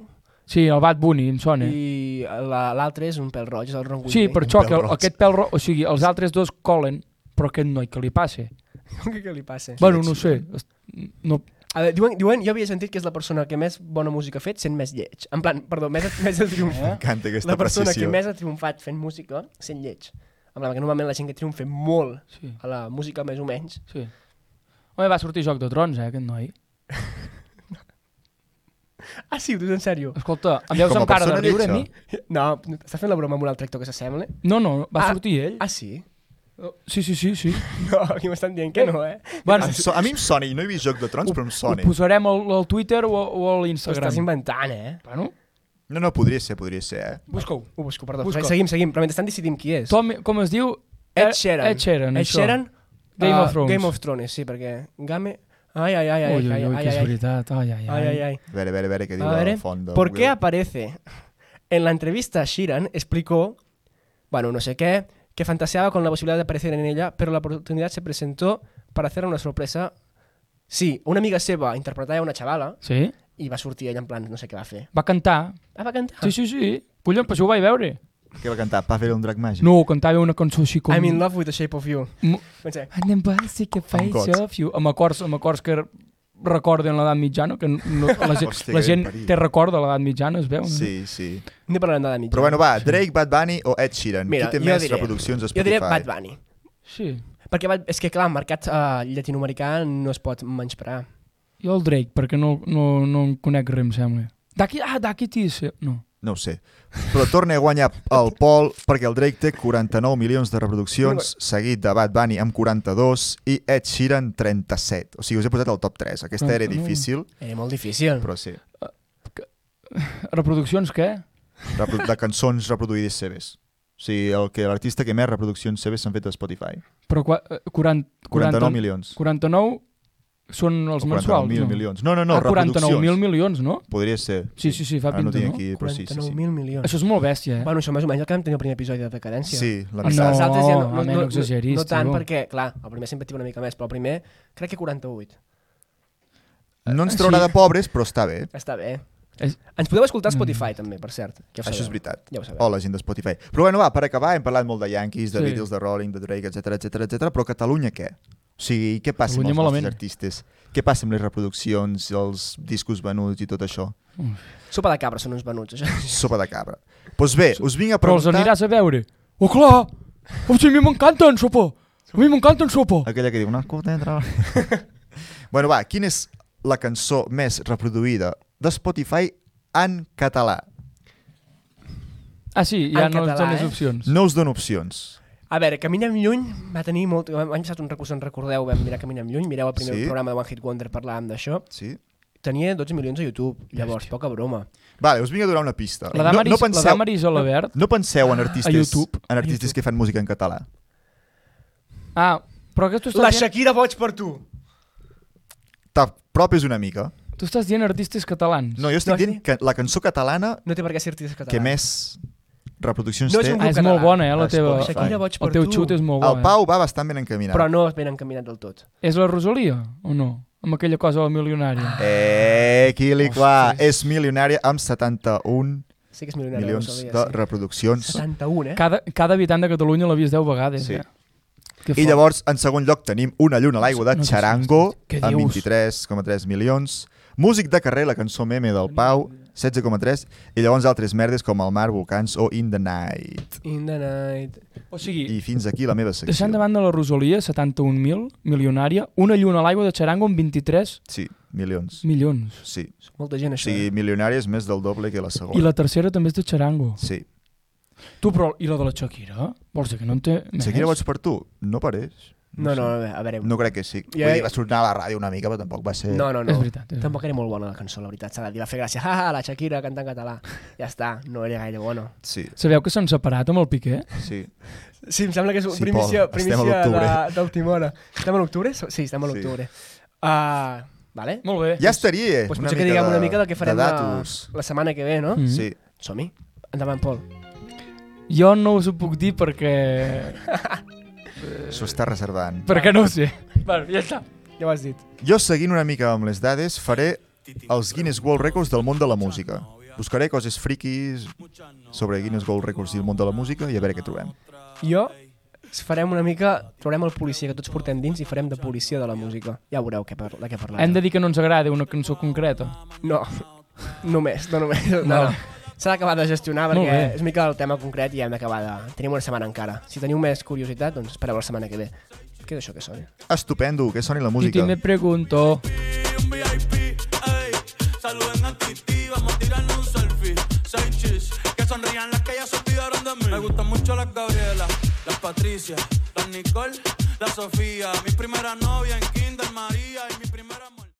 Speaker 2: Sí, el Bad Bunny, em sona. I...
Speaker 3: i la- l'altre és un pèl roig, és el Ron
Speaker 2: Eh. Sí,
Speaker 3: Weasley.
Speaker 2: per això,
Speaker 1: pèl
Speaker 2: que el,
Speaker 1: roig.
Speaker 2: aquest pèl... ro- O sigui, els altres dos colen, però aquest noi, que li passe?
Speaker 3: Què que li passa?
Speaker 2: Bueno,
Speaker 1: ets,
Speaker 2: no ho sé. es- No,
Speaker 3: A veure, diuen, diuen, jo havia sentit que és la persona que més bona música ha fet sent més lleig. En plan, perdó, més, més ha
Speaker 2: Eh?
Speaker 3: triomfat.
Speaker 1: M'encanta aquesta
Speaker 3: Ah, La persona
Speaker 1: precisió.
Speaker 3: que més ha triomfat fent música sent lleig. En plan, que normalment la gent que triomfa molt
Speaker 2: sí,
Speaker 3: a la música més o menys
Speaker 2: sí. Home, va sortir Joc de Trons, eh, aquest noi.
Speaker 3: Ah, sí, ho dius en sèrio?
Speaker 2: Escolta, em
Speaker 1: I
Speaker 2: deus
Speaker 1: com a
Speaker 2: encara de
Speaker 1: persona
Speaker 2: riure a mi?
Speaker 1: lletja.
Speaker 3: No, està fent la broma amb un altre actor que s'assembla?
Speaker 2: No, no, va
Speaker 3: Ah.
Speaker 2: sortir ell.
Speaker 3: Ah, sí?
Speaker 2: Sí, sí, sí, sí.
Speaker 3: No, aquí m'estan dient que no, eh?
Speaker 2: Bueno,
Speaker 1: Em so, a mi em sona, i no he vist Joc de Trons, però em
Speaker 2: ho
Speaker 1: sona.
Speaker 2: posarem al, al Twitter o, o a
Speaker 3: T'ho estàs
Speaker 2: l'Instagram.
Speaker 3: inventant, Pues eh?
Speaker 2: Bueno,
Speaker 1: No, no, podria ser, podria ser, eh?
Speaker 2: busca-ho.
Speaker 3: Ho busco, perdó.
Speaker 2: Busca.
Speaker 3: Busca. Seguim, seguim, però mentrestant decidim qui és.
Speaker 2: Tom, com es diu?
Speaker 3: Ed Sheeran.
Speaker 2: Ed Sheeran,
Speaker 3: Ed
Speaker 2: això.
Speaker 3: Sheeran
Speaker 2: Game
Speaker 3: ah,
Speaker 2: of Thrones.
Speaker 3: Game of Thrones, sí, perquè Game... Ai, ai, ai, ai,
Speaker 2: Ui, ui,
Speaker 3: ai,
Speaker 2: ui,
Speaker 3: ai,
Speaker 2: que és
Speaker 3: ai,
Speaker 2: veritat. Ai, ai,
Speaker 3: ai, ai, ai.
Speaker 1: A veure, a veure, a veure què diu
Speaker 3: A
Speaker 1: la
Speaker 3: ver,
Speaker 1: font de
Speaker 3: ¿por qué
Speaker 1: Google.
Speaker 3: aparece? En la entrevista, Sheeran explicó, bueno, no sé qué, que fantaseaba con la posibilidad de aparecer en ella, pero la oportunidad se presentó para hacer una sorpresa. Sí, una amiga seva interpretava una xavala
Speaker 2: Sí?
Speaker 3: i va sortir ella en plan, no sé què va fer.
Speaker 2: Va cantar.
Speaker 3: Ah, va cantar?
Speaker 2: Sí, sí, sí. Collons, però això ho vaig veure.
Speaker 1: Què va cantar? Pavel un drac màgic?
Speaker 2: No, cantava una cançó així com...
Speaker 3: I'm in love with the shape of you.
Speaker 2: Mo-
Speaker 3: Pensé,
Speaker 2: And then we'll seek a face
Speaker 1: gots.
Speaker 2: of you. Amb acords, amb acords que recorden l'edat mitjana, que no, la, gent,
Speaker 1: Hòstia,
Speaker 2: la
Speaker 1: que
Speaker 2: gent
Speaker 1: perill.
Speaker 2: té record de l'edat mitjana, es veu? no?
Speaker 1: Sí, sí.
Speaker 3: no parlarem de la mitja.
Speaker 1: Però bueno, va, Drake, Bad Bunny o Ed Sheeran?
Speaker 3: Mira,
Speaker 1: Qui té
Speaker 3: jo
Speaker 1: més
Speaker 3: diré-
Speaker 1: reproduccions a
Speaker 3: jo
Speaker 1: Spotify?
Speaker 3: diré Bad Bunny.
Speaker 2: Sí.
Speaker 3: Perquè Bad- és que clar, el mercat eh, llatinoamericà no es pot menysprear.
Speaker 2: Jo el Drake, perquè no, no, no en conec res, em sembla. D'aquí, ah, d'aquí t'hi sé. No.
Speaker 1: No ho sé. Però torna a guanyar el Pol perquè el Drake té 49 milions de reproduccions, seguit de Bad Bunny amb 42 i Ed Sheeran 37. O sigui, us he posat el top 3. Aquesta era
Speaker 2: 39.
Speaker 1: difícil,
Speaker 3: Era Eh, molt difícil.
Speaker 1: però sí.
Speaker 2: Reproduccions, què?
Speaker 1: Repro- De cançons reproduïdes seves. O sigui, el que l'artista que més reproduccions seves s'han fet a Spotify.
Speaker 2: Però qua, eh, 40,
Speaker 1: 49 milions.
Speaker 2: 49 són els mensuals,
Speaker 1: 49.000
Speaker 2: no?
Speaker 1: milions. No, no, no,
Speaker 2: ah, 49.000
Speaker 1: reproduccions.
Speaker 2: milions, no?
Speaker 1: Podria ser.
Speaker 2: Sí, sí, sí, fa
Speaker 1: Ara no
Speaker 2: pinta,
Speaker 1: tinc
Speaker 2: no?
Speaker 1: aquí, però sí, sí, sí.
Speaker 3: 49.000 milions.
Speaker 2: Això és molt bèstia, eh?
Speaker 3: Bueno, això més o menys el que vam tenir al primer episodi de Decadència.
Speaker 1: Sí, la
Speaker 2: Ah,
Speaker 3: Els,
Speaker 1: meitat.
Speaker 2: no.
Speaker 3: els altres ja no, no,
Speaker 2: home, no
Speaker 3: no,
Speaker 2: exageris,
Speaker 3: no tant
Speaker 2: tio.
Speaker 3: perquè, clar, el primer sempre tira una mica més, però el primer crec que 48.
Speaker 1: No ens traurà de pobres, però està bé.
Speaker 3: Està bé.
Speaker 2: És- Mm.
Speaker 3: Ens podeu escoltar a Spotify també, per cert. Ja ho
Speaker 1: Això
Speaker 3: sabeu.
Speaker 1: és veritat. Oh.
Speaker 3: Ja ho sabeu.
Speaker 1: Hola, gent de Spotify. Però bueno, va, per acabar, hem parlat molt de Yankees, de
Speaker 2: Sí.
Speaker 1: sí. Beatles, de Rolling, de Drake, etc etc etc. però Catalunya què? O sigui, què passa
Speaker 2: Catalunya
Speaker 1: amb els
Speaker 2: malament.
Speaker 1: nostres artistes? Què passa amb les reproduccions, els discos venuts i tot això?
Speaker 3: Sopa de cabra són uns venuts, això.
Speaker 1: Sopa de cabra. Doncs pues bé, us vinc a
Speaker 2: Però els
Speaker 1: preguntar...
Speaker 2: aniràs a veure. Oh, clar! Oh, sí, a mi m'encanta en sopa! A mi m'encanta en sopa!
Speaker 1: Aquella que diu... "Una cosa entra". bueno, va, quina és la cançó més reproduïda de Spotify en català?
Speaker 2: Ah, sí, ja
Speaker 3: En
Speaker 2: no ens
Speaker 3: català,
Speaker 2: dones
Speaker 3: eh?
Speaker 2: opcions.
Speaker 1: No us dono opcions.
Speaker 3: A veure, Caminem lluny va tenir molt... L'any passat un recurs, en recordeu, vam mirar Caminem lluny, mireu el primer
Speaker 1: Sí.
Speaker 3: programa de One Hit Wonder, parlàvem d'això.
Speaker 1: Sí?
Speaker 3: Tenia 12 milions a YouTube, llavors, poca broma.
Speaker 1: Vale, us vinc a donar una pista.
Speaker 2: La Damaris,
Speaker 1: no, no
Speaker 2: la
Speaker 1: penseu,
Speaker 2: Damaris Alabert.
Speaker 1: no penseu en artistes,
Speaker 2: Ah, YouTube.
Speaker 1: en artistes que fan música en català.
Speaker 2: Ah, però aquest tu estàs,
Speaker 3: La
Speaker 2: dient,
Speaker 3: Shakira boig per tu!
Speaker 1: T'apropis una mica.
Speaker 2: tu estàs dient artistes catalans.
Speaker 1: No, jo estic
Speaker 3: No, sí.
Speaker 1: dient que la cançó catalana
Speaker 3: No té per què ser artista català.
Speaker 1: que més reproduccions
Speaker 3: No és
Speaker 1: té...
Speaker 3: un
Speaker 2: ah,
Speaker 3: grup
Speaker 2: és molt
Speaker 3: català.
Speaker 2: bona, eh, la
Speaker 1: Ah,
Speaker 2: teva...
Speaker 1: Spotify.
Speaker 3: Shakira boig per
Speaker 2: El teu
Speaker 3: tu.
Speaker 2: xut és molt bo,
Speaker 1: El Pau va bastant ben encaminat.
Speaker 3: Però no és ben encaminat del tot.
Speaker 2: eh? És la Rosalia, o no? Amb aquella cosa del milionari.
Speaker 1: Eh, Quilicua, és milionària amb 71
Speaker 3: Sí que és milionari.
Speaker 1: milions de
Speaker 3: de...
Speaker 1: reproduccions.
Speaker 3: 71, eh?
Speaker 2: Cada, cada habitant de Catalunya l'ha vist 10 vegades,
Speaker 1: Sí.
Speaker 2: eh? Que
Speaker 1: I llavors, en segon lloc, tenim Una lluna a l'aigua de
Speaker 2: No sé si
Speaker 1: Charango,
Speaker 2: m'has dit. Què
Speaker 1: amb
Speaker 2: dius?
Speaker 1: 23,3 milions. Músic de carrer, la cançó meme del Pau, 16,3. I llavors altres merdes com El mar, Volcans o In the Night.
Speaker 3: In the night.
Speaker 2: O sigui,
Speaker 1: I fins aquí la meva secció.
Speaker 2: deixant de banda la Rosalia, 71.000, milionària, una lluna a l'aigua de Charango amb 23
Speaker 1: Sí, milions.
Speaker 2: milions.
Speaker 1: Sí.
Speaker 3: És molta gent,
Speaker 1: O
Speaker 3: això. eh?
Speaker 1: sigui, milionària és més del doble que la
Speaker 2: I
Speaker 1: segona.
Speaker 2: la tercera també és de Charango.
Speaker 1: Sí.
Speaker 2: Tu, però, i la de la Shakira? Vols dir que no en té més?
Speaker 1: Shakira vaig per tu? No pareix.
Speaker 3: No, no, a veure, a veure.
Speaker 1: No crec que sí.
Speaker 3: Ja-
Speaker 1: Vull dir, va sonar a la ràdio una mica, però tampoc va ser...
Speaker 3: no, no, no.
Speaker 2: És veritat, és
Speaker 3: Tampoc era molt bona la cançó, la veritat. S'ha de dir, va fer gràcia. Ha, ha, la Shakira canta en català. Ja està, no era gaire bona.
Speaker 1: Sí,
Speaker 2: Sabeu que s'han separat amb el Piqué?
Speaker 1: sí.
Speaker 3: Sí, em sembla que és
Speaker 1: Sí, primícia- Pol, estem a primícia l'octubre. de-
Speaker 3: d'última hora. Estem a l'octubre? Sí, estem a
Speaker 1: Sí.
Speaker 3: l'octubre. Ah, vale?
Speaker 2: Molt bé.
Speaker 1: Ja estaria.
Speaker 3: Doncs potser que diguem una mica del que farem
Speaker 1: de
Speaker 3: la,
Speaker 1: datos.
Speaker 3: la setmana que ve, no?
Speaker 2: Mm.
Speaker 1: Sí.
Speaker 3: Som-hi. Endavant, Pol.
Speaker 2: Jo no us ho puc dir perquè...
Speaker 1: S'ho està reservant.
Speaker 2: perquè no ho sé. Bueno, ja està.
Speaker 3: Ja ho has dit.
Speaker 1: Jo, seguint una mica amb les dades, faré els Guinness World Records del món de la música. Buscaré coses friquis sobre Guinness World Records i el món de la música i a veure què trobem.
Speaker 3: Jo s- farem una mica... Trobarem el policia que tots portem dins i farem de policia de la música. Ja veureu què par de què parlarem.
Speaker 2: Hem de dir que no ens agrada una cançó concreta.
Speaker 3: No, només, no només. No,
Speaker 2: Vale.
Speaker 3: no. S'ha d'acabar de gestionar
Speaker 2: Molt
Speaker 3: perquè
Speaker 2: bé.
Speaker 3: és mica el tema concret i hem d'acabar de... Tenim una setmana encara. Si teniu més curiositat, doncs espereu la setmana que ve. Què és això que sona?
Speaker 1: Estupendo, que soni la
Speaker 2: Titi
Speaker 1: música.
Speaker 2: me pregunto...
Speaker 6: Saluden a Titi, vamos a tirarle un selfie. Seis chis, que sonrían las que ya se olvidaron de mí. Me gustan mucho las Gabriela, las Patricia, las Nicole, la Sofía. Mi primera novia en Kinder María.